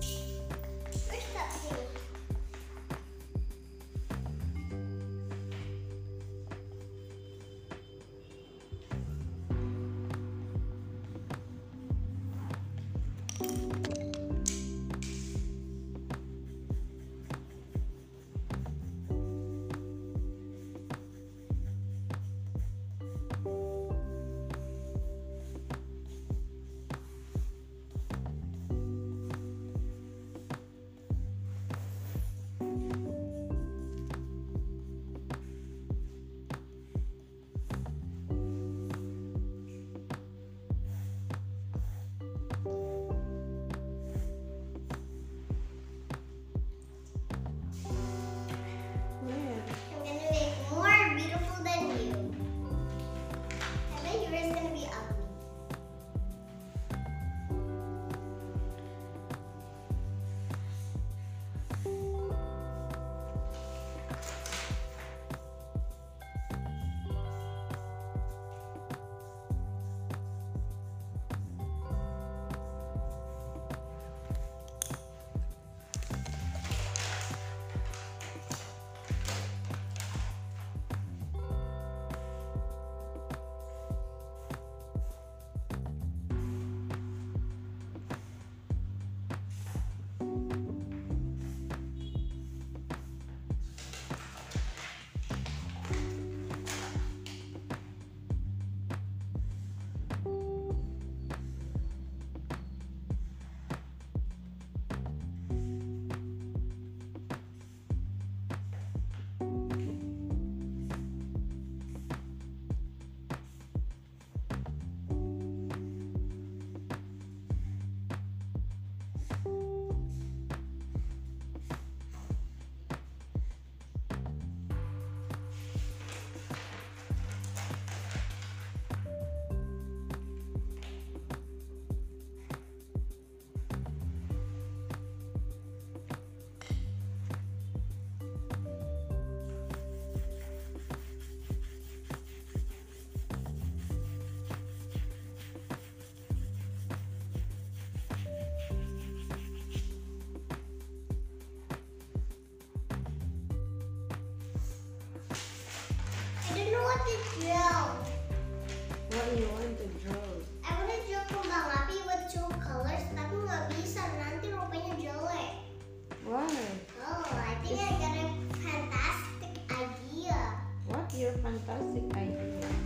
Speaker 2: Where's that thing?
Speaker 1: Yeah.
Speaker 2: I'm gonna make more beautiful than you. I bet yours is gonna be ugly. I don't know what to draw.
Speaker 1: What you want to draw?
Speaker 2: I wanna draw kembang api with two colors, tapi nggak bisa nanti rupanya jelek.
Speaker 1: Why?
Speaker 2: Oh, I think I got a fantastic idea.
Speaker 1: What your fantastic idea?
Speaker 2: I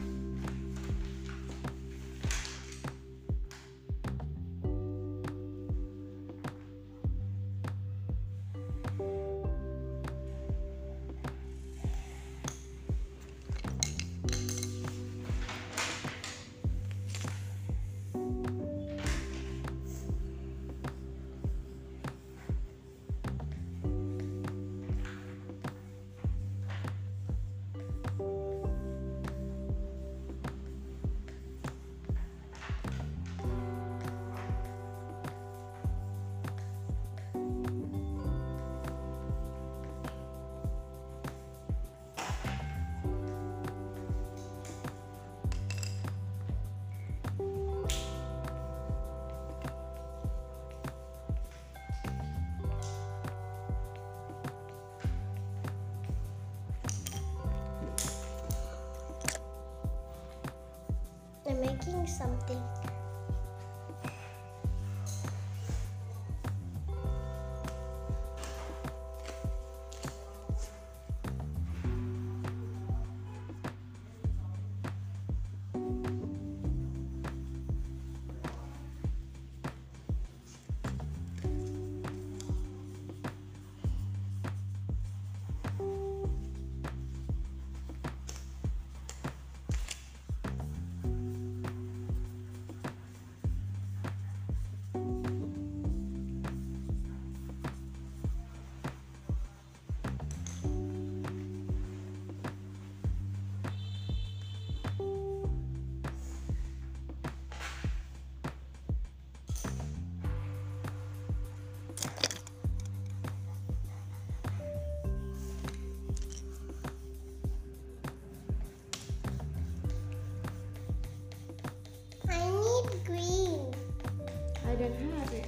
Speaker 2: something. I need green.
Speaker 3: I don't have it.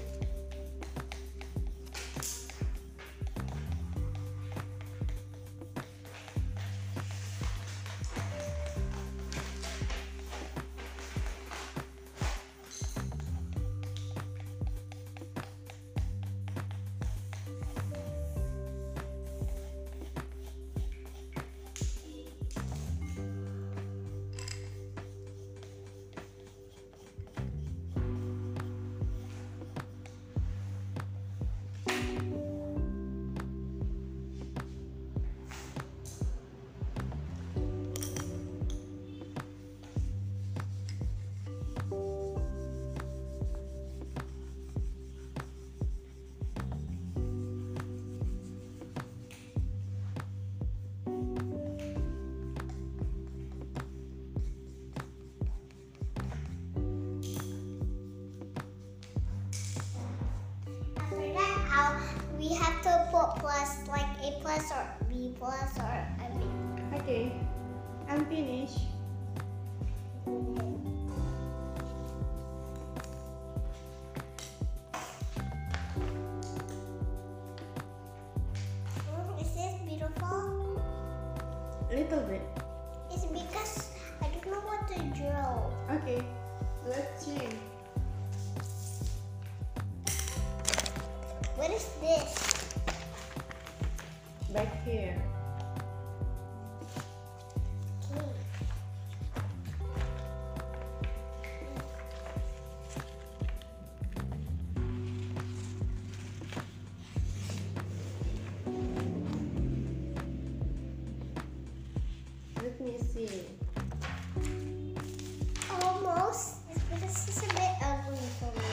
Speaker 2: After that, I'll, we have to put plus, like A plus or B plus or I mean.
Speaker 1: Okay, I'm finished.
Speaker 2: Mm, Is this beautiful?
Speaker 1: Little bit.
Speaker 2: It's because I don't know what to draw.
Speaker 1: Okay, let's change.
Speaker 2: What is this?
Speaker 1: Back here.
Speaker 2: Okay.
Speaker 1: Let me see.
Speaker 2: Almost. It's because it's a bit ugly for me.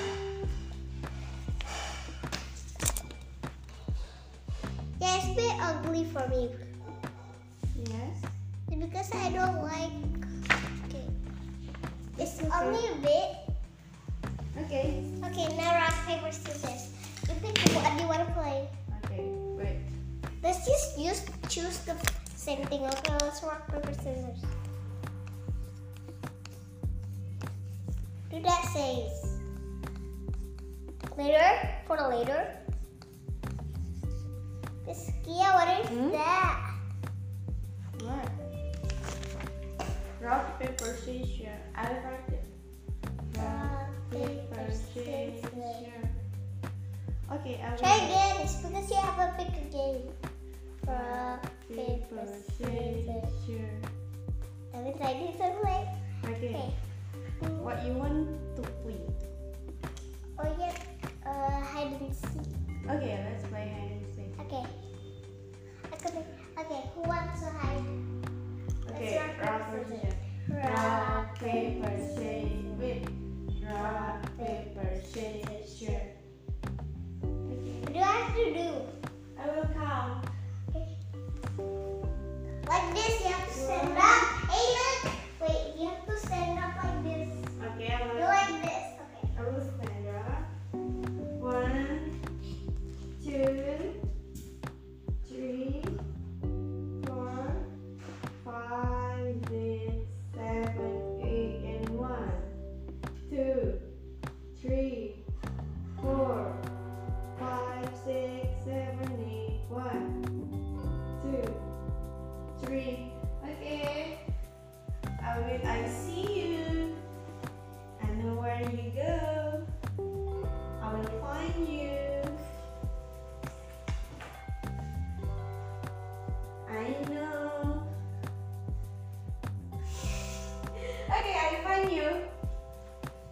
Speaker 2: Yeah, it's a bit ugly for me.
Speaker 1: Yes.
Speaker 2: It's because I don't like. Okay. It's
Speaker 1: okay.
Speaker 2: only a bit.
Speaker 1: Okay.
Speaker 2: Okay, now rock, paper, scissors. You pick what you want to play.
Speaker 1: Okay. Wait.
Speaker 2: Let's just use, choose the same thing. Okay, let's rock, paper, scissors. Do that says. Later, for the later. This Kia, what is
Speaker 1: Hmm?
Speaker 2: that?
Speaker 1: What? Rock paper scissors. I like it.
Speaker 2: Rock, paper,
Speaker 1: scissors.
Speaker 2: scissors.
Speaker 1: Okay, I will.
Speaker 2: Try again. It's because you have a bigger game. Rock, paper, scissors.
Speaker 1: scissors.
Speaker 2: Have you tried this one?
Speaker 1: Okay.
Speaker 2: Okay.
Speaker 1: What you want to play?
Speaker 2: Oh yeah. Uh, hide and seek.
Speaker 1: Okay, let's play hide and seek.
Speaker 2: Okay. Okay. Okay. Who wants to hide?
Speaker 1: Okay,
Speaker 2: Let's rock,
Speaker 1: rock
Speaker 2: paper,
Speaker 1: paper
Speaker 2: scissors.
Speaker 1: scissors. Rock paper scissors. Wait. Rock paper scissors. Okay.
Speaker 2: What do I have to do?
Speaker 1: I will count.
Speaker 2: Like this, you have to stand up. Hey, look. Wait, you have to stand up like this.
Speaker 1: Okay, I
Speaker 2: Do
Speaker 1: will.
Speaker 2: like this. Okay.
Speaker 1: I will stand up. One, two, three, four, five, six, seven, eight, and one, two, three, Okay, I find you.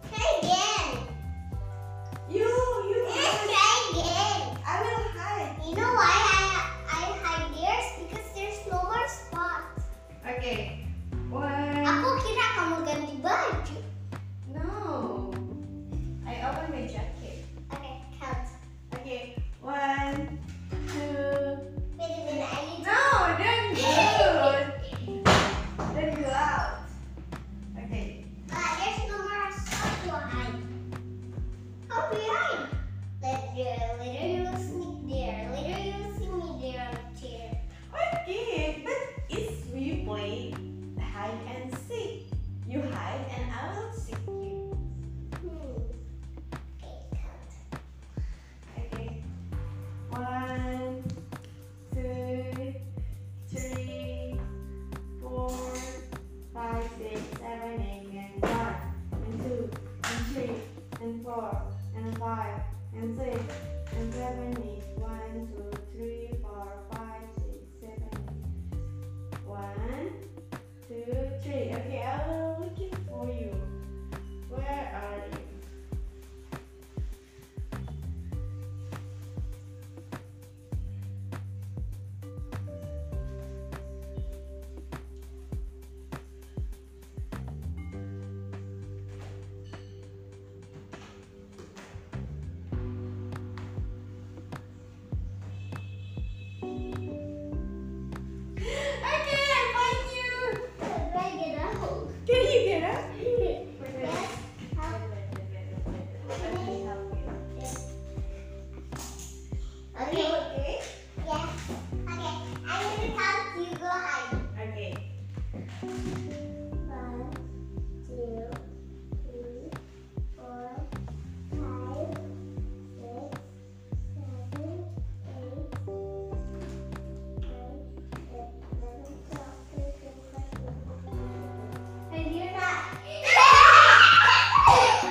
Speaker 2: Try again.
Speaker 1: You, you.
Speaker 2: Let's try again.
Speaker 1: I will hide.
Speaker 2: You know why I I hide theirs? Because there's no more spots.
Speaker 1: Okay. One.
Speaker 2: Aku kira kamu ganti baju.
Speaker 1: No. I open my jacket.
Speaker 2: Okay, count.
Speaker 1: Okay. One, two.
Speaker 2: Wait a minute, I need
Speaker 1: No, don't go. Don't go out. Okay.
Speaker 2: But there's no more stuff to hide. I'll be hiding. Later, later you will sneak there. Later you will see me there on the chair.
Speaker 1: Okay, but if we play hide and seek, you hide and I will seek you.
Speaker 2: Hmm. Okay, count.
Speaker 1: Okay. One, two, three, four, five, six, seven, eight, and one, and two, and three, and four, and five, and six, and seven, eight, one, two, three, four, five, six, seven, eight. One, two, three. Okay, I will looking for you. Where are you? Okay, I find you.
Speaker 2: How do I get out?
Speaker 1: Can you get up?
Speaker 2: Yes, how? Okay.
Speaker 1: Okay.
Speaker 2: Yes. Okay. I'm gonna count. You go hide.
Speaker 1: Okay.
Speaker 2: One, two, three, four, five, six, seven, eight, nine, ten, eleven, twelve, thirteen, fourteen, fifteen. And you're not.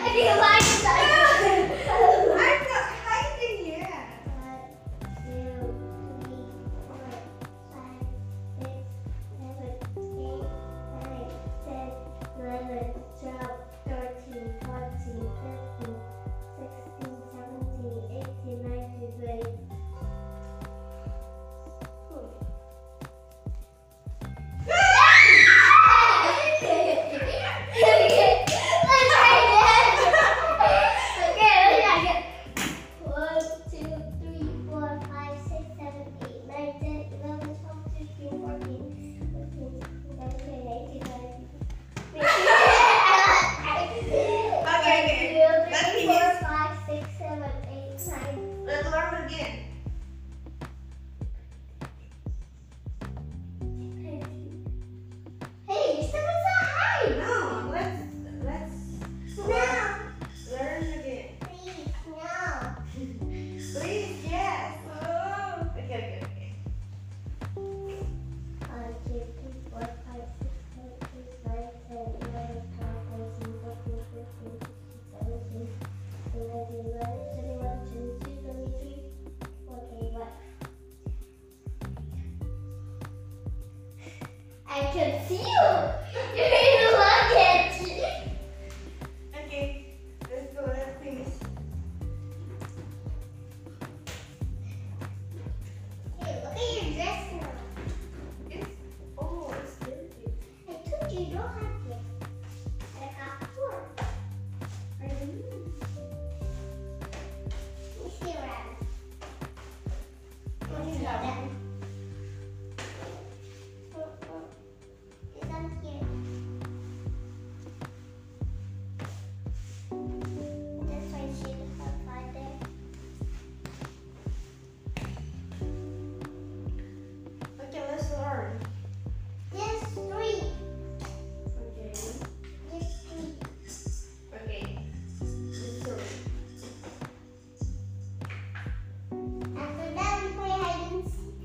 Speaker 2: And you like that.
Speaker 1: I'm not hiding yet.
Speaker 2: One, two, three, four, five, six, seven, eight, nine, ten, eleven, twelve, thirteen, fourteen, fifteen, sixteen, seventeen, eighteen, nineteen. One,
Speaker 1: Okay,
Speaker 2: two,
Speaker 1: okay. Let
Speaker 2: three,
Speaker 1: me
Speaker 2: four,
Speaker 1: just
Speaker 2: five, six, seven, eight, nine.
Speaker 1: let's learn again.
Speaker 2: Hey, you're still inside.
Speaker 1: No, let's let's
Speaker 2: No,
Speaker 1: learn again.
Speaker 2: please, no.
Speaker 1: Please, yes. Oh. Okay, okay, okay.
Speaker 2: One, two, three, four, five, six, seven, eight, nine, ten, eleven, twelve, thirteen, fourteen, fifteen, sixteen, seventeen, eighteen, nineteen, twenty, twenty-one, twenty-two, twenty-three, twenty-four, twenty-five. I can see you. You're in the luggage.
Speaker 1: Okay. Let's go. Let's finish.
Speaker 2: Hey, look at your dress now.
Speaker 1: It's oh, it's dirty.
Speaker 2: I told you you don't have it. I got four.
Speaker 1: I don't know.
Speaker 2: Let me see around.
Speaker 1: What do you have?
Speaker 2: It's on here. That's why she have five there.
Speaker 1: Okay, let's learn.
Speaker 2: There's three.
Speaker 1: Okay.
Speaker 2: There's three.
Speaker 1: Okay. Let's learn.
Speaker 2: After that we play hide and seek.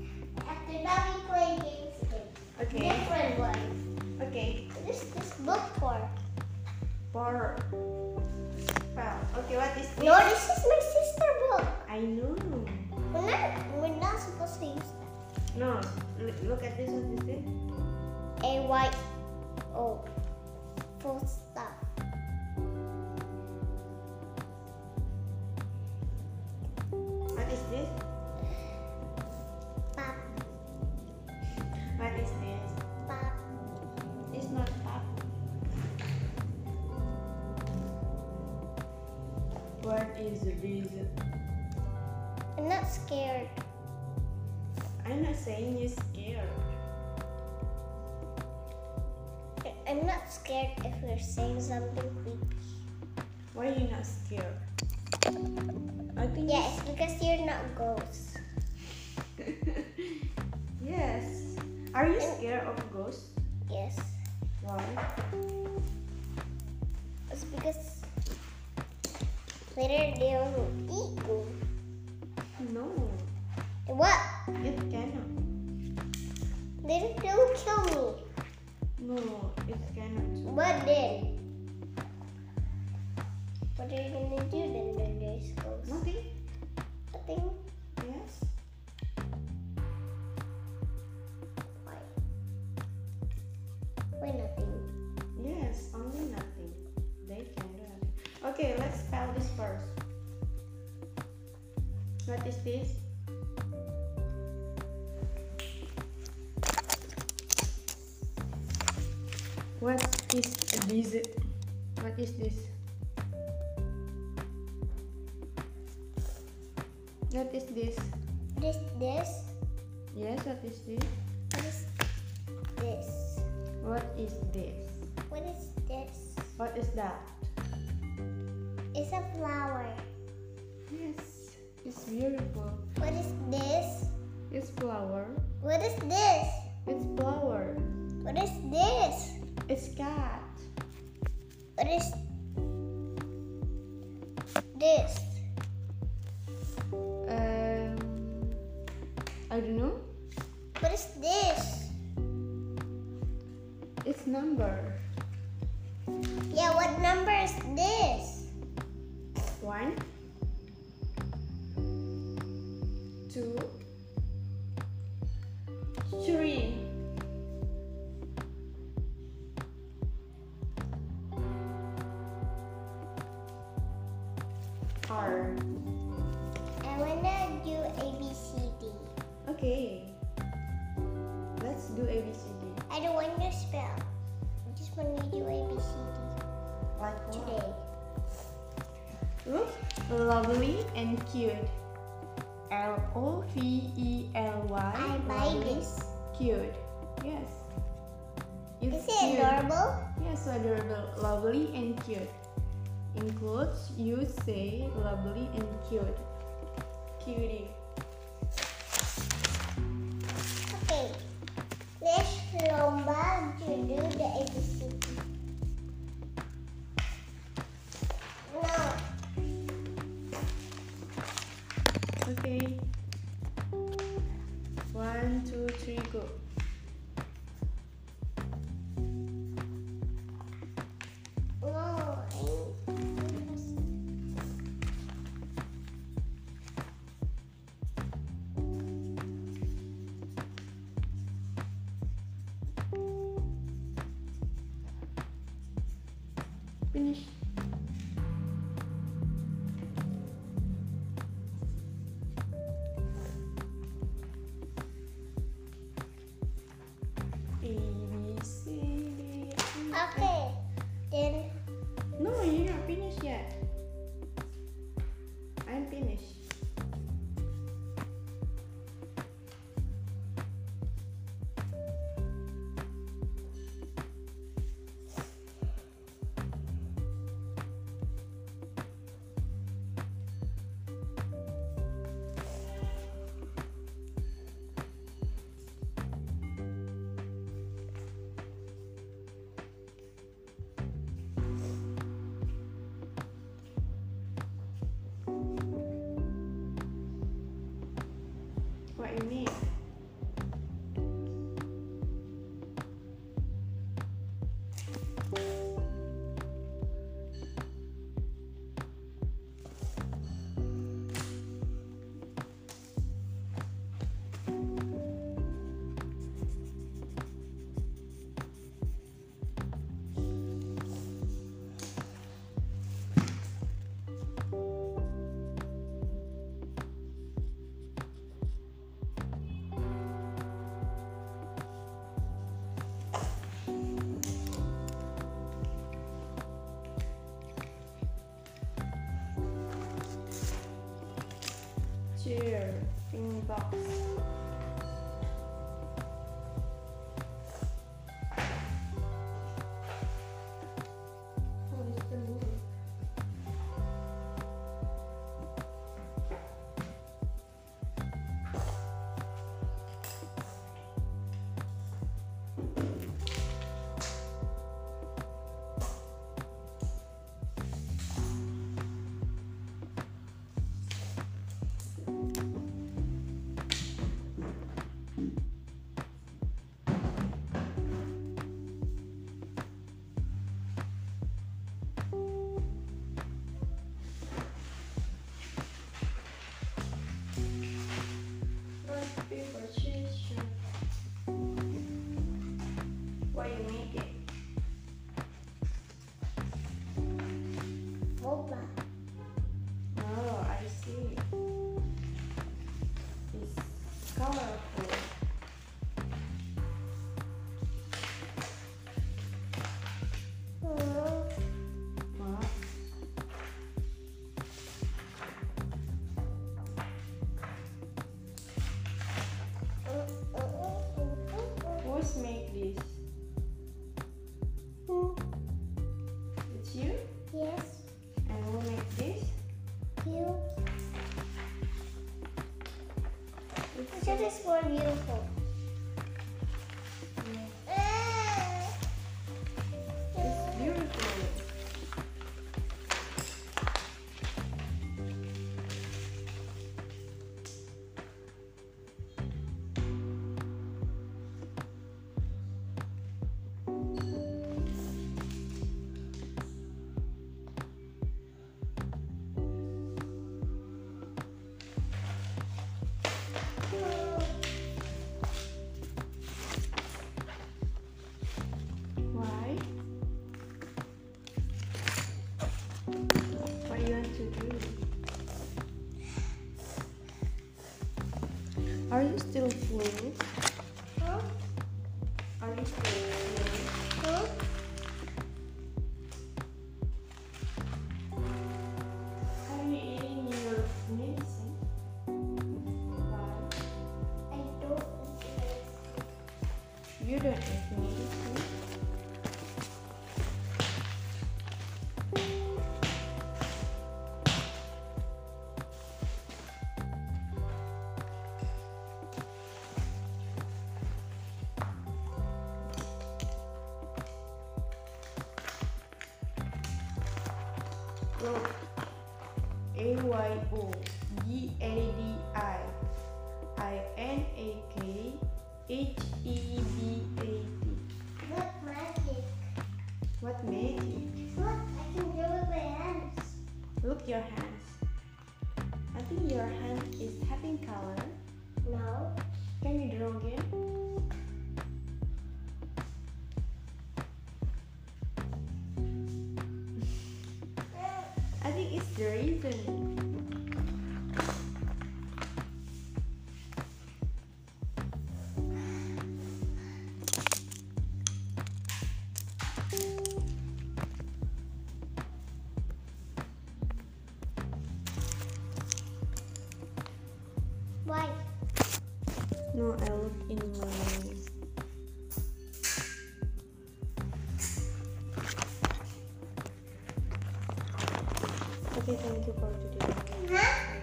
Speaker 2: After that we play games again.
Speaker 1: Okay.
Speaker 2: Different ones.
Speaker 1: Okay.
Speaker 2: What is this book for?
Speaker 1: Bar. Wow. Okay, what is
Speaker 2: No, this is my sister book.
Speaker 1: I know.
Speaker 2: We're not, we're not supposed to use that.
Speaker 1: No. Look, look at this. What is this?
Speaker 2: A Y O. full stop.
Speaker 1: What is this?
Speaker 2: Pop,
Speaker 1: What is this?
Speaker 2: pop.
Speaker 1: It's not up. What is the reason?
Speaker 2: I'm not scared.
Speaker 1: I'm not saying you're scared.
Speaker 2: I'm not scared if you're saying something creepy.
Speaker 1: Why are you not scared? I think
Speaker 2: Yeah, it's because you're not ghost.
Speaker 1: yes. Are you scared of ghosts?
Speaker 2: Yes.
Speaker 1: Why?
Speaker 2: It's because later they will eat you.
Speaker 1: No,
Speaker 2: What?
Speaker 1: it cannot.
Speaker 2: Later they will kill me.
Speaker 1: No, it cannot.
Speaker 2: What then? What are you gonna do then when there's ghosts?
Speaker 1: Nothing?
Speaker 2: Nothing.
Speaker 1: Yes.
Speaker 2: Why? Why nothing?
Speaker 1: Yes, only nothing. They can do nothing. Okay, let's spell this first. What is this? What is this? What is this? What is this?
Speaker 2: What is this?
Speaker 1: Yes, what is this?
Speaker 2: What is this?
Speaker 1: What is this?
Speaker 2: What is this?
Speaker 1: What is that?
Speaker 2: It's a flower.
Speaker 1: Yes, it's beautiful.
Speaker 2: What is this?
Speaker 1: It's flower.
Speaker 2: What is this?
Speaker 1: It's flower.
Speaker 2: What is this?
Speaker 1: It's cat.
Speaker 2: What is this?
Speaker 1: Um, I don't know.
Speaker 2: What is this?
Speaker 1: It's number
Speaker 2: Yeah, what number is this?
Speaker 1: one, two, three. R.
Speaker 2: I wanna do A B C D.
Speaker 1: Okay. Let's do A B C D.
Speaker 2: I don't want to spell. I just wanna do A B C D
Speaker 1: Like what?
Speaker 2: today.
Speaker 1: Look lovely and cute. L O V E L Y.
Speaker 2: I buy
Speaker 1: lovely,
Speaker 2: this.
Speaker 1: Cute. Yes. It's
Speaker 2: Is it adorable?
Speaker 1: Yes, adorable. Lovely and cute. In quotes, you say lovely and cute. Cutie.
Speaker 2: Okay. Let's lomba to do the ABC. Now,
Speaker 1: Okay. One, two, three, go.
Speaker 2: no,
Speaker 1: Finish. A, B, C, D, E,
Speaker 2: I-
Speaker 1: F.
Speaker 2: okay. Then
Speaker 1: No, you're not finished yet. I'm finished. What you mean? box. Oh, it's been moving. Rock, paper, scissors. What you make it?
Speaker 2: boba.
Speaker 1: Oh, I see. It's colorful.
Speaker 2: Hmm.
Speaker 1: Wow. Who's make this? It's you?
Speaker 2: Yes,
Speaker 1: And who make this?
Speaker 2: you.
Speaker 1: It's
Speaker 2: That is more beautiful.
Speaker 1: you.
Speaker 2: Eh.
Speaker 1: It's
Speaker 2: It's
Speaker 1: beautiful. Why? What you want to do? Are you still full?
Speaker 2: Huh?
Speaker 1: Are you still full?
Speaker 2: Huh?
Speaker 1: Are you eating your medicine? Why?
Speaker 2: I don't understand.
Speaker 1: You don't eat medicine. Look, A Y O D A D I I N A K H E B A T.
Speaker 2: Look, magic.
Speaker 1: What magic?
Speaker 2: Look, I can do it with my hands.
Speaker 1: Look your hands. I think your hand is having color.
Speaker 2: No.
Speaker 1: Can you draw again? I think it's the reason.
Speaker 2: Why?
Speaker 1: No, I look in my Okay, thank you for today.
Speaker 2: Huh?